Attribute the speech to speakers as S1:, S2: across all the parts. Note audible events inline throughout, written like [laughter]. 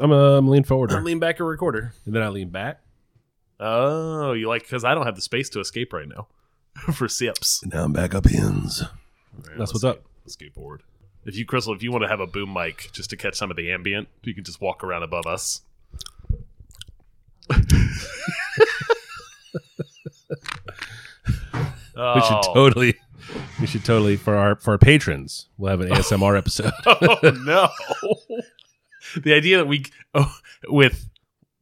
S1: I'm a, I'm a lean forwarder.
S2: I lean back a recorder.
S1: and then I lean back.
S2: Oh, you like because I don't have the space to escape right now [laughs] for sips.
S1: And now I'm back up hins. That's what's up.
S2: Let's get bored. If you, Crystal, if you want to have a boom mic just to catch some of the ambient, you can just walk around above us.
S1: We should
S2: Oh.
S1: totally, we should totally for our for our patrons. We'll have an ASMR
S2: [laughs]
S1: episode.
S2: oh no the idea that we oh, with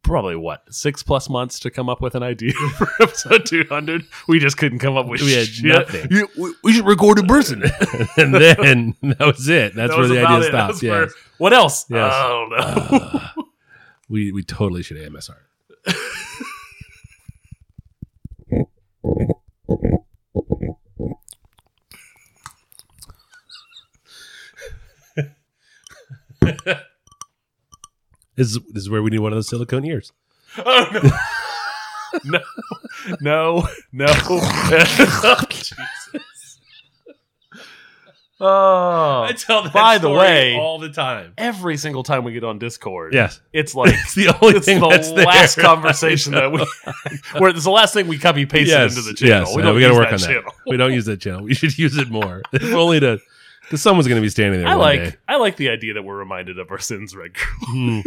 S2: probably what six plus months to come up with an idea [laughs] for episode 200 we just couldn't come up with
S1: We had
S2: shit.
S1: nothing.
S2: You- we, we should record in person
S1: [laughs] and then [laughs] that was it. That's
S2: That
S1: where
S2: was
S1: the
S2: about
S1: idea
S2: it. That was
S1: stops. Yeah,
S2: where- what else
S1: Yes.
S2: i don't know
S1: we we totally should ASMR. [laughs] this, is, this is where we need one of those silicone ears. Uh.
S2: [laughs] Oh, no. no, no,
S1: [laughs]
S2: no. [laughs] Jesus. Oh,
S1: tell that
S2: By the story way-
S1: all the time.
S2: every single time we get on Discord,
S1: Yes,
S2: it's
S1: [laughs]
S2: like
S1: it's the only
S2: it's
S1: thing.
S2: the
S1: that's there. [laughs]
S2: last conversation that we where it's the last thing we copy pasted
S1: yes,
S2: into the
S1: Yes,
S2: channel.
S1: Uh,
S2: we
S1: we,
S2: don't
S1: got to
S2: use
S1: work
S2: that
S1: on that.
S2: channel.
S1: We don't use that channel. We should use it more. [laughs] If only to, because someone's going to be standing there.
S2: I
S1: one
S2: like
S1: day.
S2: I like the idea that we're reminded of our sins regularly.
S1: Hmm.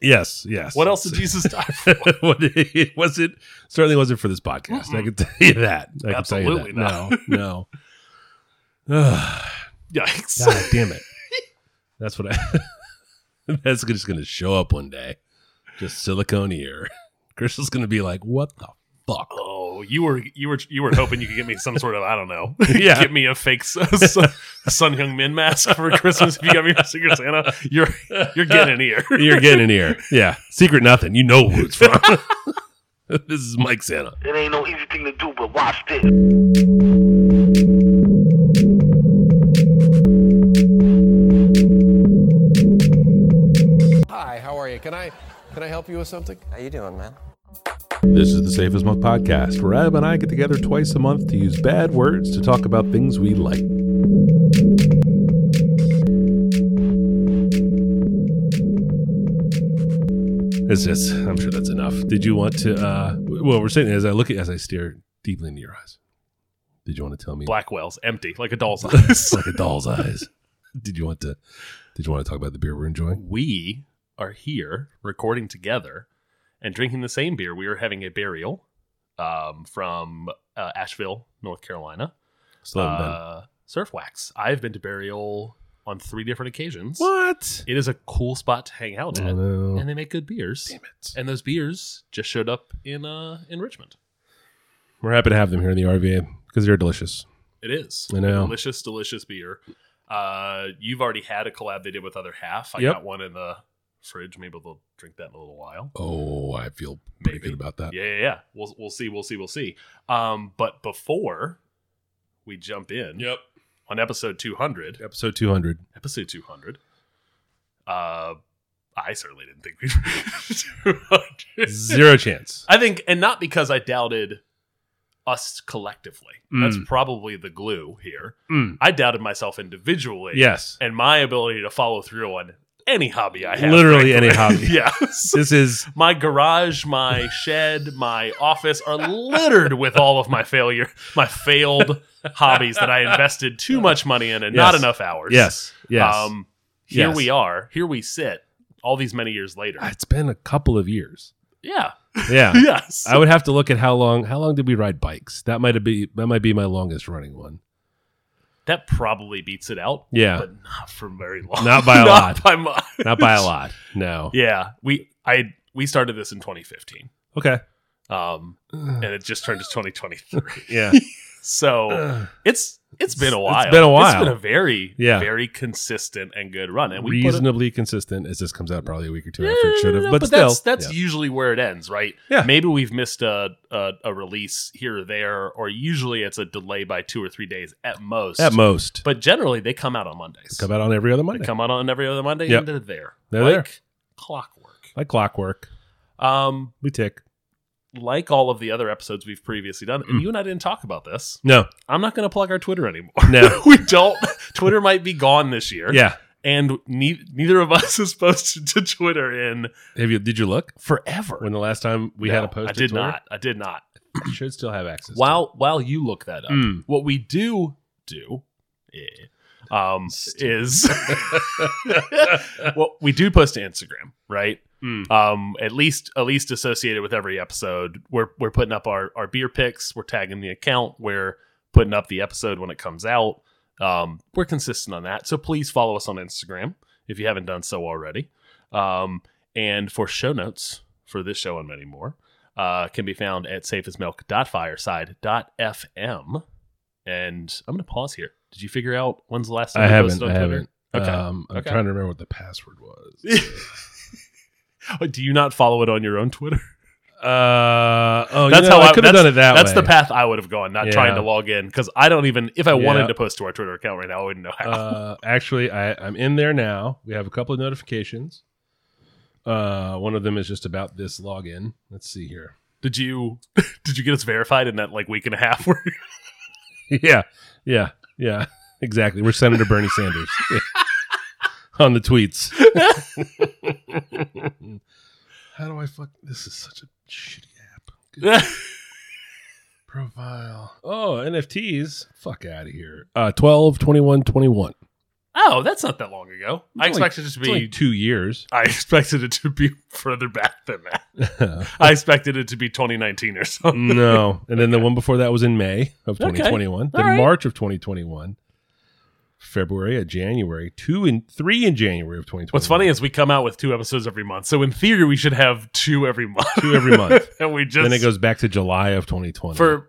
S1: yes, yes.
S2: What else did Jesus
S1: [laughs]
S2: die for?
S1: what, it wasn't certainly wasn't for this podcast. I can [laughs] tell you that. I can tell you
S2: Absolutely
S1: that.
S2: not.
S1: No, no.
S2: [laughs]
S1: [sighs]
S2: Yikes!
S1: God damn it. That's what I. [laughs] that's just going to show up one day. Just silicone ear. [laughs] Crystal's going to be like, "What the
S2: [laughs]
S1: fuck?"
S2: Oh, you were you were you were hoping you could get me some sort of I don't know.
S1: [laughs] Yeah.
S2: Get me a fake Sun, Sun Young Min mask for Christmas if you got me a Secret Santa. You're you're getting
S1: [laughs]
S2: here.
S1: You're getting an
S2: [laughs]
S1: ear. Yeah. Secret nothing. You know who it's from. [laughs] this is Mike Santa.
S3: It ain't no easy thing to do, but watch this.
S4: Hi, how are you? Can I can I help you with something?
S5: How you doing, man?
S6: This is the Safest Month podcast, where Adam and I get together twice a month to use bad words to talk about things we like.
S1: It's just, I'm sure that's enough. Did you want to, uh, well, we're saying as I look at, as I stare deeply into your eyes, did you want to tell me?
S2: Blackwell's empty like a doll's eyes.
S1: like a doll's eyes. Did you want to, did you want to talk about the beer we're enjoying?
S2: we are here recording together and drinking the same beer. We are having a burial um, from uh, Asheville, North Carolina.
S1: Still haven't been.
S2: Uh, Surf Wax. I've been to burial on three different occasions.
S1: What?
S2: It is a cool spot to hang out at,
S1: Oh, no.
S2: and they make good beers.
S1: Damn it.
S2: And those beers just showed up in uh, in Richmond.
S1: We're happy to have them here in the RVA because they're delicious.
S2: It is
S1: I know.
S2: delicious, delicious beer. Uh, you've already had a collab they did with Other Half. I
S1: Yep.
S2: got one in the fridge. Maybe they'll drink that in a little while.
S1: Oh, I feel pretty
S2: Maybe.
S1: good about that.
S2: Yeah, yeah, yeah. We'll we'll see, we'll see, we'll see. Um, but before we jump in,
S1: Yep.
S2: on episode two hundred,
S1: Episode
S2: [laughs]
S1: 200.
S2: episode two hundred, uh, I certainly didn't think we'd reach two hundred.
S1: Zero chance.
S2: I think, and not because I doubted us collectively. That's
S1: Mm.
S2: probably the glue here.
S1: Mm.
S2: I doubted myself individually.
S1: Yes.
S2: and my ability to follow through on any hobby I have.
S1: Literally any
S2: frankly.
S1: hobby.
S2: [laughs] yes.
S1: This
S2: [laughs]
S1: is
S2: My garage, my shed, my office are littered with all of my failure, my failed hobbies that I invested too much money in and not
S1: Yes.
S2: enough hours.
S1: Yes. Yes.
S2: Um, here
S1: Yes.
S2: we are. Here we sit. All these many years later.
S1: Ah, it's been a couple of
S2: [laughs]
S1: years.
S2: yeah.
S1: Yeah.
S2: Yes.
S1: I would have to look at how long how long did we ride bikes? That might have be that might be my longest running one.
S2: that probably beats it out.
S1: Yeah.
S2: But not for very
S1: [laughs]
S2: long. [laughs]
S1: Not by a lot.
S2: by much.
S1: Not by a lot. No.
S2: Yeah. We I we started this in 2015.
S1: Okay.
S2: Um, and it just turned to 2023.
S1: [sighs] Yeah.
S2: [laughs] So it's it's been a
S1: It's-
S2: while.
S1: it's been a
S2: It's been
S1: while.
S2: a very
S1: Yeah.
S2: very consistent and good run. And we put a-
S1: Reasonably consistent as this comes out probably a week or two
S2: Yeah,
S1: after it should have. But, still
S2: that's that's
S1: yeah.
S2: usually where it ends, right?
S1: Yeah.
S2: Maybe we've missed a, a a release here or there, or usually it's a delay by two or three days at most.
S1: at most.
S2: But generally, they come out on Mondays.
S1: come out on every other
S2: They
S1: Monday.
S2: come out on every other Monday,
S1: Yep.
S2: and they're there.
S1: They're
S2: like
S1: there.
S2: clockwork.
S1: Like clockwork.
S2: Um,
S1: We tick.
S2: like all of the other episodes we've previously done,
S1: Hmm.
S2: and you and I didn't talk about this.
S1: No.
S2: [laughs] I'm not going to plug our Twitter anymore.
S1: No.
S2: we don't. Twitter might be gone this year.
S1: Yeah.
S2: and ne- neither of us [laughs] is posted to Twitter in
S1: Have you? Did you look
S2: forever.
S1: when the last time we had
S2: No,
S1: a post?
S2: I
S1: to
S2: did
S1: Twitter?
S2: not. I did not.
S1: You should still have access. to
S2: While while you look that up,
S1: Mm.
S2: what we do do eh, um, is what we do post to Instagram, right?
S1: Mm.
S2: Um, at least at least associated with every episode, we're we're putting up our our beer picks. We're tagging the account. We're putting up the episode when it comes out. Um, we're consistent on that, so please follow us on Instagram if you haven't done so already. Um, and for show notes for this show and many more, uh, can be found at safeasmilk.fireside.fm. And I'm going to pause here. Did you figure out when's the last time
S1: I
S2: you
S1: haven't.
S2: posted on
S1: I
S2: Twitter?
S1: haven't.
S2: Okay.
S1: Um, I'm
S2: Okay.
S1: trying to remember what the password was.
S2: Oh, Do you not follow it on your own Twitter?
S1: Uh, oh,
S2: That's
S1: you know,
S2: how
S1: I could have
S2: that's-
S1: done it [laughs] that
S2: That's
S1: way.
S2: the path I would have gone, not
S1: Yeah.
S2: trying to log in because I don't even. If I
S1: Yeah.
S2: wanted to post to our Twitter account right now, I wouldn't know how.
S1: uh, actually, I, I'm in there now. We have a couple of notifications. Uh, one of them is just about this login. Let's see here. [laughs]
S2: did you? [laughs] Did you get us verified in that like week and a half? Where [laughs]
S1: yeah, yeah, yeah. [laughs] Exactly. We're Senator Bernie Sanders [laughs] Yeah. on the tweets. How do I fuck? This is such a shitty app. Profile. Oh, NFTs. Fuck out of here. Uh, 12, 21, 21.
S2: oh, that's not that long ago. I
S1: It's only-
S2: expected it to
S1: It's only
S2: be.
S1: two years. [laughs]
S2: I [laughs] expected it to be further back than that.
S1: no.
S2: I expected it to be 2019 or something.
S1: And then the one before that was in May of
S2: Okay.
S1: 2021. Then
S2: All right.
S1: March of 2021. February, uh, January, two and three in January of 2021.
S2: What's funny is we come out with two episodes every month. So in theory, we should have two every month.
S1: Two every month.
S2: [laughs] and we just
S1: then it goes back to July of 2020.
S2: for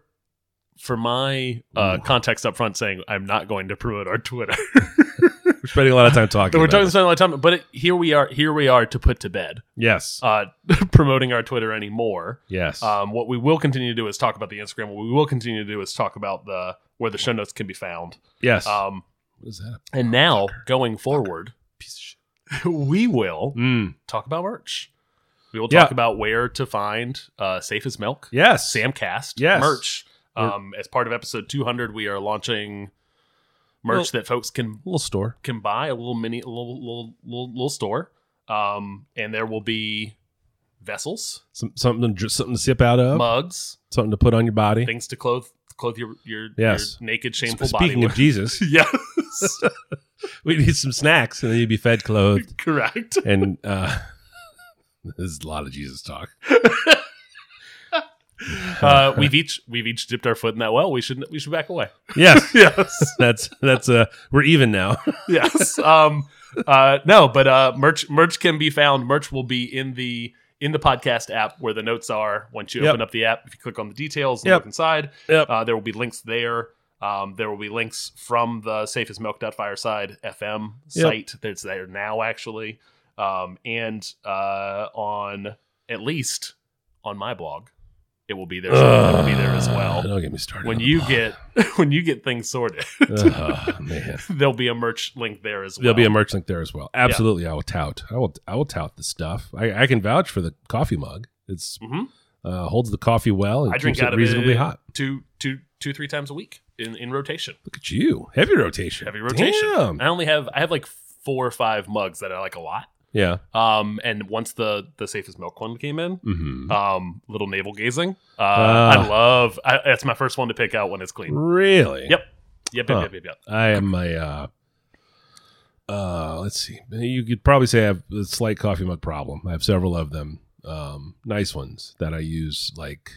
S2: for my uh,
S1: Ooh.
S2: context up front saying I'm not going to promote our Twitter. [laughs]
S1: we're spending a lot of time talking.
S2: We're
S1: about
S2: talking
S1: it.
S2: so a lot of time, but it, here we are. Here we are to put to bed
S1: Yes.
S2: uh, [laughs] promoting our Twitter anymore.
S1: yes.
S2: Um, what we will continue to do is talk about the Instagram. What we will continue to do is talk about the where the show notes can be found.
S1: yes.
S2: Um,
S1: what is that?
S2: and now going forward,
S1: Piece of shit.
S2: [laughs] we will
S1: Mm.
S2: talk about merch. We will
S1: Yeah.
S2: talk about where to find uh, Safe as Milk,
S1: Yes.
S2: Samcast
S1: Yes.
S2: merch. Um, as part of episode 200, we are launching merch that folks can
S1: Little store.
S2: can buy a little mini, a little little little, little store. Um, and there will be vessels,
S1: Some, something, to, something to sip out of.
S2: mugs,
S1: Something to put on your body.
S2: things to clothe clothe your your,
S1: Yes.
S2: your naked
S1: Sp-
S2: shameful
S1: Speaking
S2: body.
S1: of Jesus,
S2: [laughs] with. yes,
S1: we need some snacks, and then you'd be fed, clothed, [laughs]
S2: correct.
S1: and uh this is a lot of jesus talk
S2: Uh, we've each we've each dipped our foot in that well. We should we should back away.
S1: yes
S2: [laughs] Yes.
S1: that's that's uh we're even
S2: [laughs]
S1: now [laughs]
S2: yes. Um, uh, no, but uh, merch merch can be found. Merch will be in the in the podcast app where the notes are. Once you
S1: Yep.
S2: open up the app, if you click on the details and
S1: Yep.
S2: look inside,
S1: Yep.
S2: uh, there will be links there. Um, there will be links from the safeasmilk.fireside FM
S1: Yep.
S2: site that's there now, actually, um, and uh, on at least on my blog, it will be there. it will be there as
S1: Ugh, [sighs]
S2: well.
S1: don't get me started
S2: When
S1: on
S2: you
S1: the
S2: get [laughs] when you get things sorted, [laughs]
S1: blog. Ugh, man
S2: there'll be a merch link there as well.
S1: there'll be a merch link there as well absolutely i will tout i will i will tout the stuff i, I can vouch for the coffee mug it's
S2: Mhm.
S1: uh holds the coffee well and
S2: I drink
S1: keeps it
S2: out of
S1: reasonably
S2: it
S1: hot
S2: two, two, two, three times a week in, in rotation.
S1: look at you heavy rotation
S2: Heavy rotation.
S1: Damn.
S2: I only have I have like four or five mugs that I like a lot.
S1: yeah
S2: Um, and once the the safest milk one came in,
S1: mm-hmm.
S2: um, little navel gazing. Uh,
S1: Ah.
S2: I love. I, that's my first one to pick out when it's clean.
S1: really
S2: Yep. Yep,
S1: Huh.
S2: yep, yep, yep, yep.
S1: I am my uh uh let's see. You could probably say I have a slight coffee mug problem. I have several of them. Um nice ones that I use like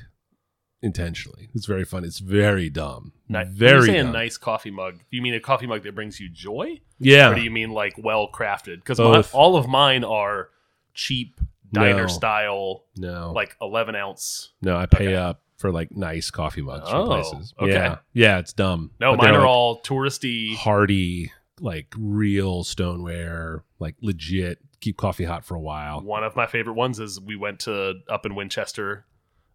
S1: intentionally. It's very fun. It's very dumb.
S2: Ni- when you
S1: very
S2: say
S1: dumb.
S2: a nice coffee mug. Do you mean a coffee mug that brings you joy, or do
S1: Yeah.
S2: you mean like well crafted? Because
S1: Both.
S2: all of mine are cheap diner
S1: No.
S2: style,
S1: No. Like
S2: like eleven ounce.
S1: no, I pay up for like nice coffee mugs from
S2: Oh,
S1: places.
S2: okay.
S1: Yeah. Yeah, it's dumb.
S2: No,
S1: But
S2: mine
S1: they're,
S2: are
S1: like,
S2: all touristy.
S1: hardy, like real stoneware, like legit keep coffee hot for a while.
S2: One of my favorite ones is we went to up in Winchester,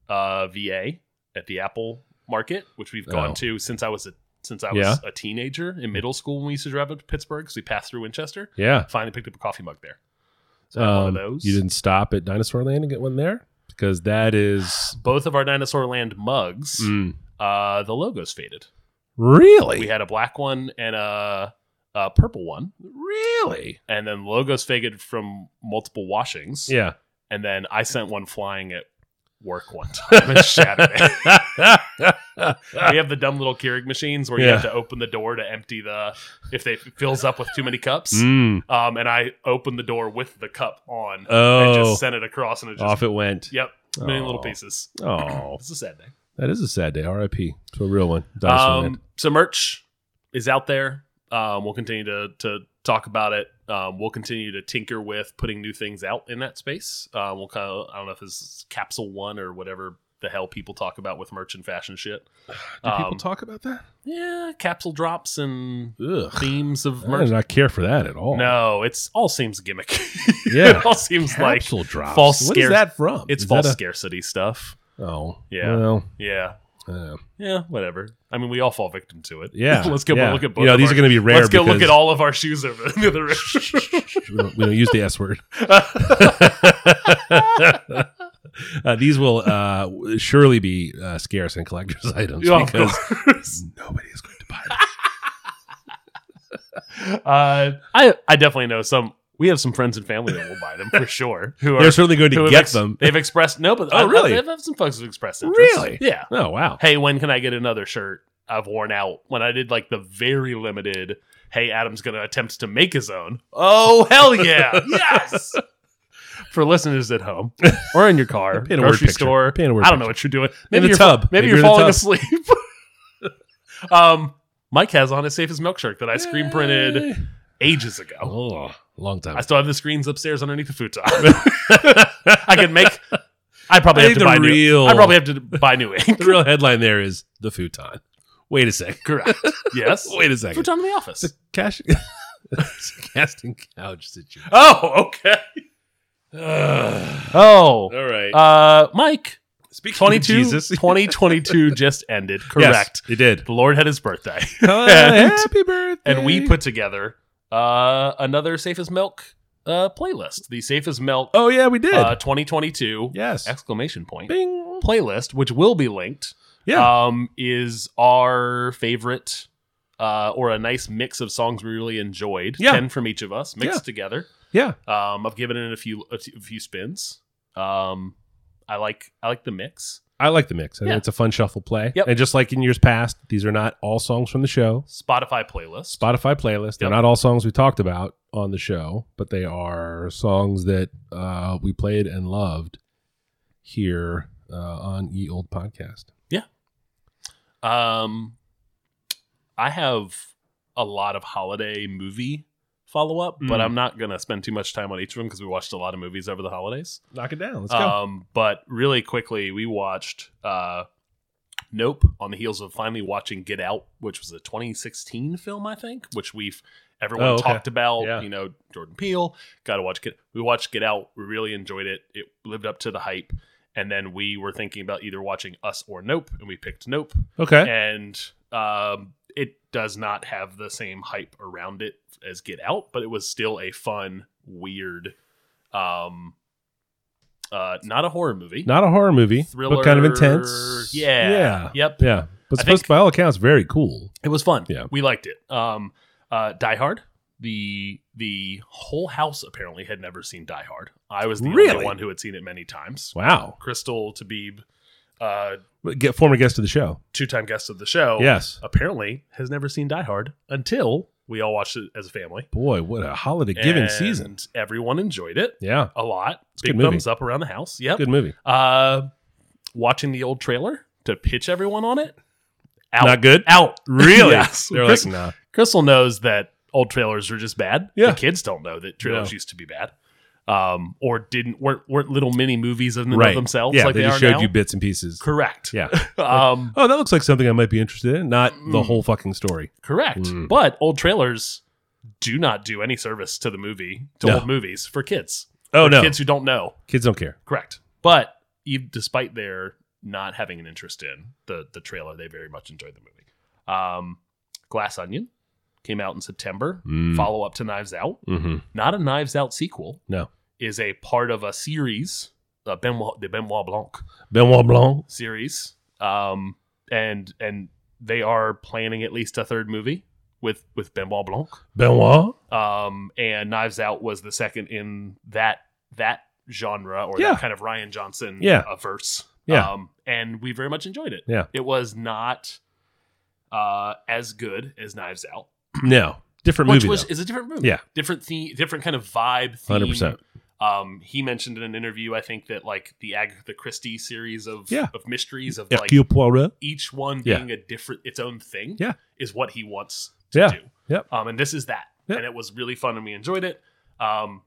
S2: uh, VA at the Apple Market, which we've gone
S1: Oh.
S2: to since I was a since I was
S1: Yeah.
S2: a teenager in middle school when we used to drive up to Pittsburgh because we passed through Winchester.
S1: Yeah.
S2: Finally picked up a coffee mug there. So I had one
S1: Um,
S2: of those.
S1: You didn't stop at Dinosaur Land and get one there because that
S2: [sighs]
S1: is
S2: Both of our Dinosaur Land mugs,
S1: Mm.
S2: uh, the logos faded.
S1: really
S2: We had a black one and a uh, purple one,
S1: Really?
S2: and then logos faded from multiple washings.
S1: [laughs] Yeah.
S2: And then I sent one flying at
S1: [laughs]
S2: work one time and shattered it. we have the dumb little Keurig machines where you
S1: Yeah.
S2: have to open the door to empty the if they if it fills up with too many cups.
S1: Mm.
S2: Um, and I opened the door with the cup on and
S1: Oh,
S2: just sent it across, and it just
S1: off it went.
S2: yep, many little
S1: Aw.
S2: pieces.
S1: Oh,
S2: It's a sad day.
S1: that is a sad day. R.I.P. to a real one. Dinosaur Land.
S2: Um, so merch is out there. Um, we'll continue to to talk about it. Um, we'll continue to tinker with putting new things out in that space. Um, we'll kind of I don't know if this is capsule one or whatever the hell people talk about with merch and fashion shit.
S1: Do people
S2: um,
S1: talk about that?
S2: Yeah, capsule drops and
S1: Ugh.
S2: themes of
S1: I
S2: merch.
S1: do not care for that at all.
S2: No, it's all seems gimmick. [laughs]
S1: Yeah.
S2: it all seems like
S1: Capsule drops.
S2: false
S1: What is
S2: scare-
S1: that from?
S2: it's
S1: Is
S2: false
S1: that
S2: scarcity stuff.
S1: a- oh.
S2: Yeah.
S1: Well,
S2: Yeah,
S1: uh,
S2: yeah, whatever. I mean, we all fall victim to it.
S1: yeah.
S2: [laughs] let's go
S1: yeah.
S2: look at both.
S1: You know,
S2: of
S1: these
S2: our-
S1: are going to be rare
S2: Let's go look
S1: because
S2: at all of our shoes over [laughs] the other room.
S1: we don't, we don't use the S word.
S2: [laughs]
S1: uh, these will uh, surely be uh, scarce and collector's [laughs] items
S2: Yeah, of
S1: because
S2: course.
S1: nobody is going to buy them.
S2: uh, I I definitely know some. We have some friends and family that will buy them for sure. Who are
S1: They're certainly going
S2: who
S1: to
S2: have
S1: get
S2: ex-
S1: them.
S2: They've expressed no, but
S1: Oh,
S2: I- I-
S1: really?
S2: I've had some folks who've expressed interest.
S1: Really?
S2: Yeah.
S1: Oh, wow.
S2: Hey, when can I get another shirt? I've worn out. When I did like the very limited. Hey, Adam's going to attempt to make his own. Oh hell yeah!
S1: [laughs]
S2: yes. For listeners at home or in your car,
S1: Paint a word
S2: grocery
S1: picture.
S2: store,
S1: Paint a word
S2: I don't know
S1: picture.
S2: what you're doing.
S1: the
S2: you're
S1: tub. Maybe
S2: Maybe, you're,
S1: you're in the
S2: falling
S1: tub.
S2: asleep. [laughs] um, Mike has on his safe as milk shirt that I screen printed ages ago.
S1: Oh, long time.
S2: I still have the screens upstairs underneath
S1: [laughs]
S2: the futon. I can make. I
S1: I
S2: probably have
S1: need
S2: to
S1: the
S2: buy new.
S1: real-
S2: I probably have to buy new ink. [laughs]
S1: the real headline there is the futon. Wait a second. [laughs]
S2: Correct. Yes.
S1: Wait a second.
S2: Futon in the office.
S1: It's a cash. [laughs] it's a casting couch situation.
S2: Oh, okay.
S1: Ugh. all
S2: Oh,
S1: right.
S2: uh,
S1: [laughs]
S2: Mike.
S1: Speaking
S2: 22,
S1: Jesus. [laughs]
S2: 2022 just ended.
S1: Yes,
S2: Correct.
S1: it did.
S2: The Lord had his birthday. [laughs]
S1: [laughs] and, happy birthday.
S2: and we put together uh, another Safe as Milk uh, playlist, the Safe as Milk
S1: Oh yeah, we did.
S2: uh, 2022
S1: yes.
S2: exclamation point
S1: Bing.
S2: playlist, which will be linked.
S1: Yeah.
S2: um, is our favorite uh, or a nice mix of songs we really enjoyed.
S1: Yeah.
S2: ten from each of us mixed
S1: Yeah.
S2: together.
S1: Yeah.
S2: Um, I've given it a few a few spins. Um, I like I like the mix.
S1: I like the mix. I
S2: Yeah.
S1: think it's a fun shuffle play.
S2: Yep.
S1: And just like in years past, these are not all songs from the show.
S2: Spotify playlist.
S1: Spotify playlist. They're
S2: Yep.
S1: not all songs we talked about on the show, but they are songs that uh, we played and loved here uh, on Ye Old Podcast.
S2: Um, I have a lot of holiday movie follow up, but
S1: Mm.
S2: I'm not gonna spend too much time on each of them because we watched a lot of movies over the holidays.
S1: Knock it down. Let's
S2: Um, but really quickly, we watched uh, Nope on the heels of finally watching Get Out, which was a 2016 film, I think, which we've everyone
S1: Oh, okay.
S2: talked about.
S1: Yeah.
S2: You know, Jordan Peele. Got to watch Get. We watched Get Out. We really enjoyed it. It lived up to the hype. And then we were thinking about either watching Us or Nope, and we picked Nope
S1: Okay.
S2: and um, it does not have the same hype around it as Get Out, but it was still a fun, weird, um, uh, not a horror movie,
S1: Not a horror movie,
S2: thriller,
S1: but kind of intense.
S2: Yeah,
S1: Yeah.
S2: yep,
S1: Yeah. But
S2: I
S1: supposed,
S2: think-
S1: by all accounts, very cool.
S2: it was fun.
S1: Yeah.
S2: we liked it. Um, uh, Die Hard. The the whole house apparently had never seen Die Hard. I was the only
S1: Really?
S2: one who had seen it many times.
S1: Wow.
S2: Crystal Tabib, uh,
S1: Get former guest of the show.
S2: two time guest of the show,
S1: Yes.
S2: apparently has never seen Die Hard until we all watched it as a family.
S1: Boy, what a holiday giving
S2: And
S1: season.
S2: Everyone enjoyed it
S1: Yeah.
S2: a lot.
S1: a
S2: Big
S1: good movie.
S2: thumbs up around the house. Yep.
S1: Good movie.
S2: Uh, watching the old trailer to pitch everyone on it. Out.
S1: Not good? [laughs]
S2: Out. yes.
S1: They're like,
S2: Crystal,
S1: nah.
S2: Crystal knows that old trailers are just bad.
S1: Yeah.
S2: The kids don't know that trailers
S1: No.
S2: used to be bad. Um, or didn't weren't, weren't little mini movies of, them- of
S1: Right.
S2: themselves
S1: yeah,
S2: like they,
S1: just
S2: are
S1: showed
S2: now.
S1: you bits and pieces.
S2: Correct.
S1: Yeah.
S2: Um,
S1: Oh, that looks like something I might be interested in. Not
S2: Mm.
S1: the whole fucking story.
S2: Correct.
S1: Mm.
S2: But old trailers do not do any service to the movie, to
S1: No.
S2: old movies for kids.
S1: Oh
S2: For
S1: no,
S2: Kids
S1: kids,
S2: who don't know.
S1: don't care.
S2: Correct. But you, despite their not having an interest in the, the trailer, they very much enjoyed the movie. Um, Glass Onion came out in September.
S1: Mm.
S2: Follow up to Knives Out.
S1: Mm-hmm.
S2: Not a Knives Out sequel,
S1: No,
S2: is a part of a series, uh, Benoit, the Benoit Blanc
S1: Benoit Blanc.
S2: series. Um, and and they are planning at least a third movie. with with Benoit Blanc.
S1: Benoit. [clears throat]
S2: Um, and Knives Out was the second in that that genre or
S1: Yeah.
S2: that kind of Ryan Johnson
S1: Yeah.
S2: uh, verse.
S1: Yeah.
S2: Um, and we very much enjoyed it.
S1: Yeah.
S2: It was not uh, as good as Knives Out,
S1: No, different
S2: which
S1: movie.
S2: was
S1: though.
S2: is a different movie.
S1: Yeah,
S2: Different theme, different kind of vibe.
S1: hundred percent.
S2: Um, he mentioned in an interview, I think that like the Agatha Christie series of
S1: Yeah.
S2: of mysteries of like
S1: Hercule Poirot.
S2: each one
S1: Yeah.
S2: being a different its own thing
S1: Yeah.
S2: is what he wants to
S1: Yeah.
S2: do.
S1: Yep.
S2: Um, and this is that.
S1: Yep.
S2: And it was really fun and we enjoyed it. Um,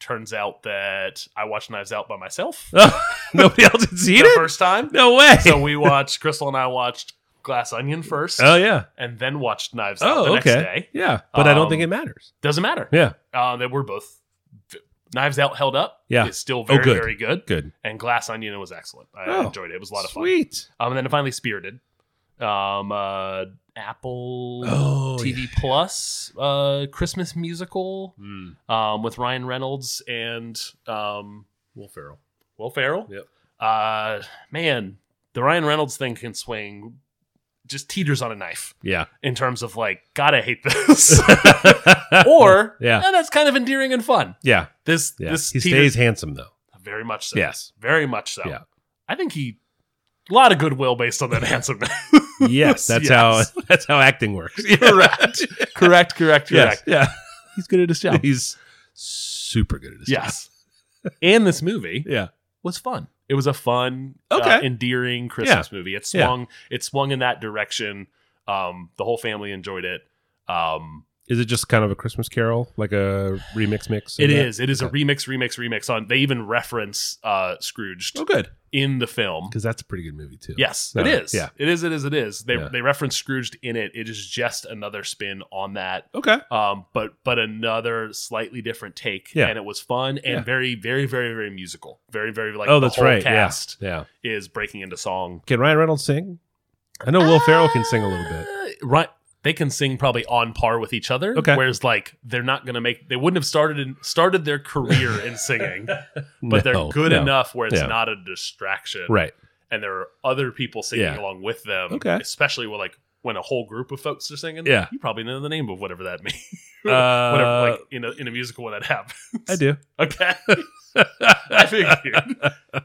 S2: turns out that I watched Knives Out by myself
S1: [laughs] Nobody else had seen
S2: the
S1: it.
S2: first time.
S1: No way.
S2: So we watched Crystal and I watched Glass Onion first
S1: [laughs] oh yeah.
S2: and then watched Knives Out the
S1: Oh
S2: next
S1: okay.
S2: day.
S1: Yeah, but I don't
S2: Um,
S1: think it matters.
S2: Doesn't matter.
S1: Yeah.
S2: Uh, that we're both Knives Out held up.
S1: Yeah. Oh,
S2: It's still very,
S1: good.
S2: very good.
S1: Good.
S2: And Glass Onion was excellent. I
S1: Oh,
S2: enjoyed it. It was a lot of fun.
S1: Sweet.
S2: Um, and then finally Spirited. Um, uh, Apple
S1: Oh.
S2: TV Plus uh, Christmas musical
S1: yeah. Mm.
S2: um, with Ryan Reynolds and um,
S1: Will Ferrell.
S2: Will Ferrell.
S1: Yep.
S2: Uh, man, the Ryan Reynolds thing can swing just teeters on a knife
S1: Yeah.
S2: in terms of like, God, I
S1: [laughs]
S2: hate this. or
S1: Yeah.
S2: "Eh, that's kind of endearing and fun.
S1: yeah.
S2: This
S1: Yeah.
S2: this
S1: he
S2: teeters-
S1: stays handsome though.
S2: very much so.
S1: Yes.
S2: very much so.
S1: Yeah.
S2: I think he a lot of goodwill based on that [laughs] handsomeness. [laughs]
S1: Yes, that's
S2: Yes.
S1: how [laughs] that's how acting works. [laughs]
S2: [laughs] Correct. correct, correct,
S1: Yes.
S2: correct.
S1: Yeah.
S2: He's good at his job.
S1: He's super good at his job. [laughs]
S2: Yes. and this movie
S1: Yeah.
S2: was fun. It was a fun,
S1: Okay.
S2: uh, endearing Christmas movie. It
S1: Yeah.
S2: swung it swung in that direction. Um, the whole family enjoyed it. Um,
S1: Is it just kind of a Christmas carol, like a remix mix?
S2: it is it is a remix, remix, remix on. They even reference uh, Scrooged
S1: Oh, good.
S2: in the film.
S1: Because that's a pretty good movie, too.
S2: Yes,
S1: No,
S2: it is.
S1: yeah.
S2: it is. It is. It is. They
S1: Yeah.
S2: they reference Scrooged in it. It is just another spin on that.
S1: Okay.
S2: Um, but but another slightly different take.
S1: Yeah.
S2: and it was fun and
S1: Yeah.
S2: very very very very musical. Very very like
S1: oh,
S2: the
S1: that's
S2: whole
S1: right.
S2: Cast
S1: Yeah. yeah.
S2: is breaking into song.
S1: Can Ryan Reynolds sing? I know Will Ferrell can sing a little bit.
S2: Uh, Right. They can sing probably on par with each other.
S1: Okay.
S2: Whereas like they're not gonna make they wouldn't have started in, started their career in singing, but they're
S1: No,
S2: good
S1: no.
S2: enough where it's
S1: Yeah.
S2: not a distraction.
S1: Right.
S2: And there are other people singing
S1: Yeah.
S2: along with them.
S1: Okay.
S2: Especially when like when a whole group of folks are singing.
S1: Yeah.
S2: You probably know the name of whatever that means.
S1: Uh,
S2: whatever like in a in a musical when that happens.
S1: I do.
S2: Uh, Okay. [laughs]
S1: [laughs]
S2: I figured.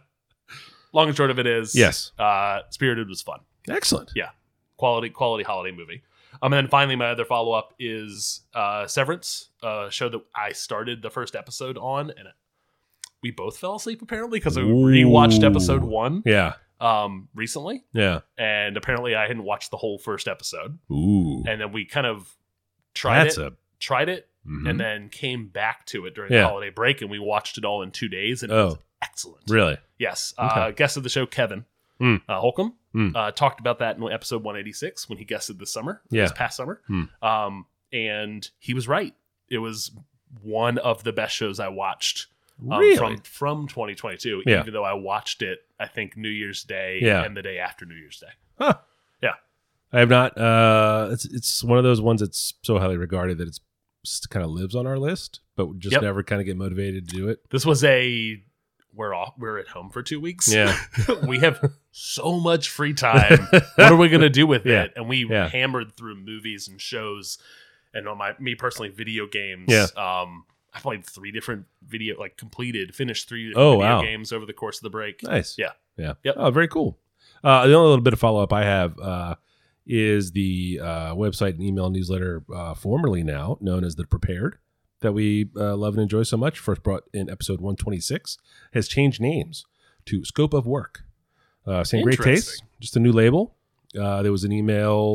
S2: Long and short of it is
S1: Yes.
S2: Uh Spirited was fun
S1: Excellent.
S2: quality quality holiday movie. Um, and then finally, my other follow up is uh, Severance, a show that I started the first episode on, and we both fell asleep apparently because I rewatched
S1: Ooh.
S2: episode one
S1: Yeah.
S2: um, recently,
S1: Yeah.
S2: and apparently I hadn't watched the whole first episode,
S1: Ooh.
S2: and then we kind of tried
S1: that's
S2: it,
S1: a.
S2: tried it,
S1: mhm.
S2: and then came back to it during
S1: Yeah.
S2: the holiday break, and we watched it all in two days, and it was
S1: oh,
S2: excellent.
S1: really?
S2: Yes. Uh,
S1: Okay.
S2: guest of the show, Kevin
S1: Mm.
S2: uh, Holcomb,
S1: Mm.
S2: uh, talked about that in episode 186 when he guested this summer,
S1: Yeah.
S2: this past summer.
S1: Mm.
S2: Um, and he was right. It was one of the best shows I watched um,
S1: really?
S2: from, from 2022,
S1: Yeah.
S2: even though I watched it, I think, New Year's Day
S1: Yeah.
S2: and the day after New Year's Day.
S1: I have not. Uh, it's it's one of those ones that's so highly regarded that it's just kind of lives on our list, but just
S2: Yep.
S1: never kind of get motivated to do it.
S2: This was a. We're off. We're at home for two weeks. [laughs] we have so much free time. what are
S1: [laughs]
S2: we going to do with
S1: Yeah.
S2: it? And we
S1: Yeah.
S2: hammered through movies and shows, and on my me personally, video games.
S1: Yeah.
S2: Um, I played three different video, like completed, finished three different
S1: Oh,
S2: video
S1: wow.
S2: games over the course of the break.
S1: Nice.
S2: Yeah.
S1: Yeah.
S2: Yep.
S1: Oh, very cool. Uh, the only little bit of follow up I have uh, is the uh, website and email newsletter, uh, formerly now known as the Prepared, that we uh, love and enjoy so much. First brought in episode one twenty six, has changed names to Scope of Work. Uh, same great taste,
S2: Interesting.
S1: just a new label. Uh, there was an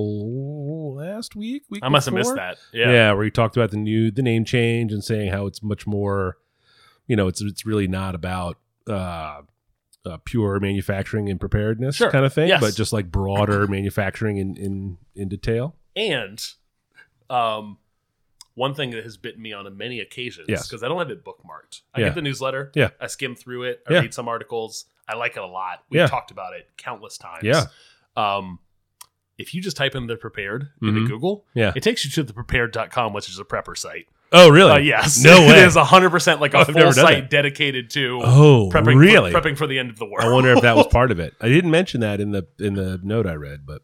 S1: email last week. week
S2: I must have
S1: before?
S2: missed that.
S1: yeah.
S2: Yeah.
S1: where you talked about the new the name change and saying how it's much more you know it's it's really not about uh, uh pure manufacturing and preparedness
S2: Sure.
S1: kind of thing
S2: Yes.
S1: but just like broader [coughs] manufacturing in in in detail
S2: And, um, one thing that has bitten me on many occasions
S1: Yes.
S2: because I don't have it bookmarked. I
S1: Yeah.
S2: get the newsletter.
S1: Yeah.
S2: I skim through it. I
S1: Yeah.
S2: read some articles. I like it a lot. We've
S1: Yeah.
S2: talked about it countless times.
S1: Yeah.
S2: Um, if you just type in the prepared
S1: Mhm.
S2: into Google,
S1: Yeah.
S2: it takes you to the prepared.com, which is a prepper site.
S1: oh really
S2: Uh, yes.
S1: no way
S2: [laughs] it is 100% like
S1: [laughs]
S2: a
S1: I've never done
S2: full site
S1: that.
S2: dedicated to
S1: oh
S2: prepping,
S1: really
S2: [laughs] for, prepping for the end of the world.
S1: i wonder if that was part of it i didn't mention that in the in the note i read but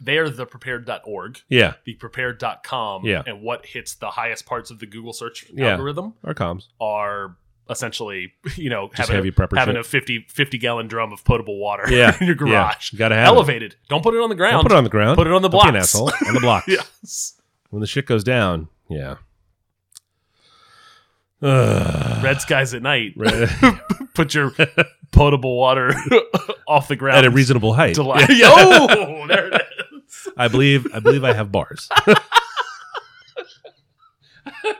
S2: They're the prepared.org,
S1: Yeah,
S2: the prepared.com,
S1: Yeah.
S2: and what hits the highest parts of the Google search
S1: Yeah.
S2: algorithm
S1: our comms.
S2: [laughs] are essentially, you know,
S1: Just
S2: having,
S1: heavy
S2: a,
S1: prepper
S2: having
S1: shit.
S2: a 50, 50 gallon drum of potable water
S1: Yeah,
S2: [laughs] in your
S1: yeah.
S2: garage.
S1: You gotta have it.
S2: Elevated. Don't put it on the ground.
S1: Don't put it on the ground.
S2: Put it on the
S1: Don't be an
S2: blocks.
S1: asshole. On the blocks.
S2: [laughs] Yes.
S1: When the shit goes down. Yeah. [sighs] Ugh.
S2: Red skies at night.
S1: Red- [laughs]
S2: Put your potable water [laughs] off the ground.
S1: At a reasonable height.
S2: [laughs]
S1: [laughs]
S2: to life. Oh, there it is.
S1: I believe. I believe I have bars.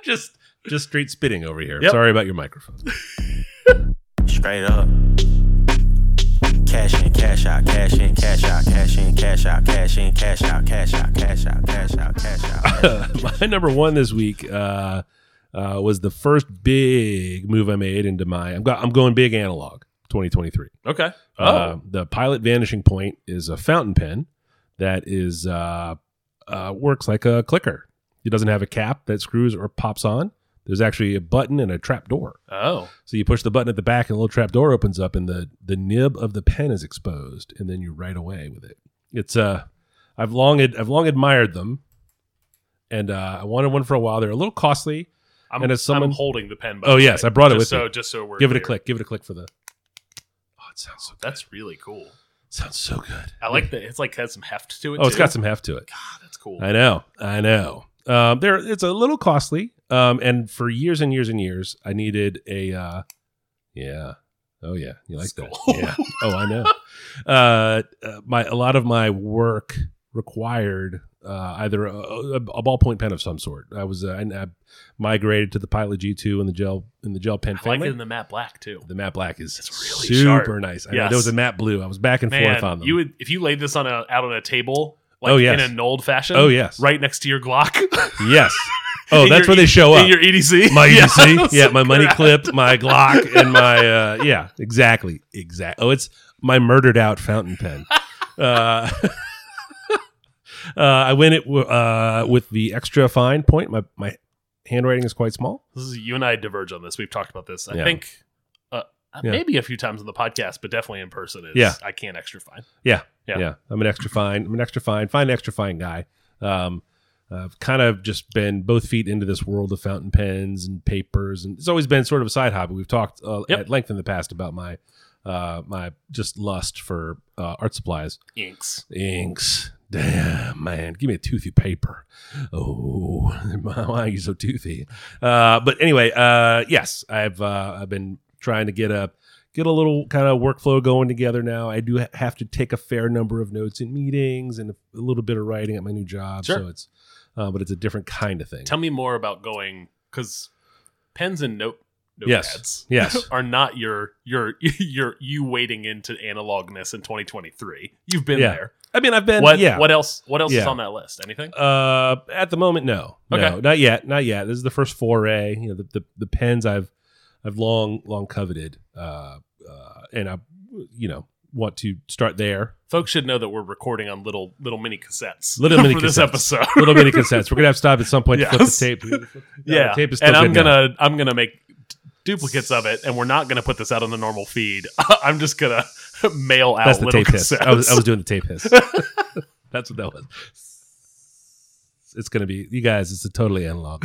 S2: Just
S1: [laughs] Just straight spitting over here.
S2: Yep.
S1: Sorry about your microphone.
S5: Straight up. Cash in, cash out, cash in, cash out, cash in, cash out, cash in, cash out, cash out, cash out, cash out, cash out.
S1: my number one this week uh, uh, was the first big move I made into my. I'm, go, I'm going big analog 2023.
S2: okay. Oh,
S1: Uh, the Pilot Vanishing Point is a fountain pen that is uh, uh, works like a clicker. It doesn't have a cap that screws or pops on. There's actually a button and a trap door.
S2: oh,
S1: So you push the button at the back, and a little trap door opens up, and the the nib of the pen is exposed, and then you write away with it. It's uh, I've long ad- I've long admired them, and uh, I wanted one for a while. They're a little costly.
S2: I'm,
S1: And as someone-
S2: I'm holding the pen. By
S1: Oh,
S2: the
S1: yes,
S2: way,
S1: I brought it
S2: just
S1: with
S2: so,
S1: me.
S2: Just so we're
S1: Give it a
S2: clear.
S1: click. Give it a click for the. Oh, it sounds so good.
S2: That's really cool.
S1: sounds so good.
S2: I like that. It's like has some heft to it.
S1: Oh, it's
S2: too.
S1: got some heft to it.
S2: Ah, that's cool.
S1: I know. I know. Um, there, it's a little costly. Um, and for years and years and years, I needed a. Uh, yeah. Oh yeah, you like that?
S2: Skull.
S1: Yeah. Oh, I know. Uh, uh, my a lot of my work required uh, either a, a, a ballpoint pen of some sort. I was uh, I, I migrated to the Pilot G two and the gel and the gel pen
S2: I like it
S1: family.
S2: in the matte black too.
S1: the matte black is
S2: It's really
S1: super
S2: sharp.
S1: nice. I know,
S2: Yes.
S1: there was a matte blue. I was back and forth on
S2: Man,
S1: them.
S2: you would if you laid this on a out on a table, like
S1: Oh, yes.
S2: in an old fashion.
S1: Oh, yes.
S2: right next to your Glock. [laughs]
S1: yes. Oh,
S2: In
S1: that's
S2: your
S1: where they
S2: E-
S1: show up.
S2: in your EDC.
S1: my
S2: [laughs] Yeah.
S1: EDC, yeah, my money
S2: Correct.
S1: clip, my Glock, and my uh, yeah, exactly, exactly. Oh, it's my murdered out fountain pen. Uh, [laughs] uh, I went it w- uh, with the extra fine point. My my handwriting is quite small.
S2: This is you and I diverge on this. We've talked about this. I
S1: Yeah.
S2: think uh,
S1: Yeah.
S2: maybe a few times on the podcast, but definitely in person. Is
S1: Yeah.
S2: I can't extra fine.
S1: Yeah.
S2: Yeah.
S1: I'm an extra fine. I'm an extra fine, fine extra fine guy. Um, I've kind of just been both feet into this world of fountain pens and papers, and it's always been sort of a side hobby. We've talked uh,
S2: Yep.
S1: at length in the past about my uh, my just lust for uh, art supplies.
S2: Inks.
S1: inks. Damn, man, give me a toothy paper. Oh, [laughs] why are you so toothy? Uh, but anyway, uh, yes, I've uh, I've been trying to get a get a little kind of workflow going together now. I do ha- have to take a fair number of notes in meetings and a little bit of writing at my new job.
S2: Sure.
S1: So it's, uh, but it's a different kind of thing.
S2: Tell me more about going because pens and note notepads
S1: Yes. Yes.
S2: are not your your [laughs] your you wading into analogness in 2023. You've been
S1: Yeah.
S2: there.
S1: [laughs] I mean, I've been
S2: What
S1: yeah.
S2: what else what else is
S1: Yeah.
S2: on that list? Anything?
S1: Uh, at the moment, no, no,
S2: Okay.
S1: not yet, not yet. This is the first foray. You know, the the, the pens I've I've long long coveted, uh, uh, and I, you know, want to start there.
S2: Folks should know that we're recording on little little mini cassettes.
S1: Little mini
S2: [laughs] for this
S1: cassettes.
S2: episode.
S1: Little mini cassettes. We're gonna have to stop at some point to flip
S2: Yes.
S1: the tape. Uh,
S2: [laughs] yeah,
S1: the tape is still
S2: and I'm
S1: good now.
S2: gonna I'm gonna make duplicates of it, and we're not gonna put this out on the normal feed. [laughs] I'm just gonna mail out
S1: That's the
S2: little
S1: tape hiss.
S2: cassettes.
S1: I was, I was doing the tape hiss. [laughs] That's what that was. It's gonna be you guys. It's a totally analog,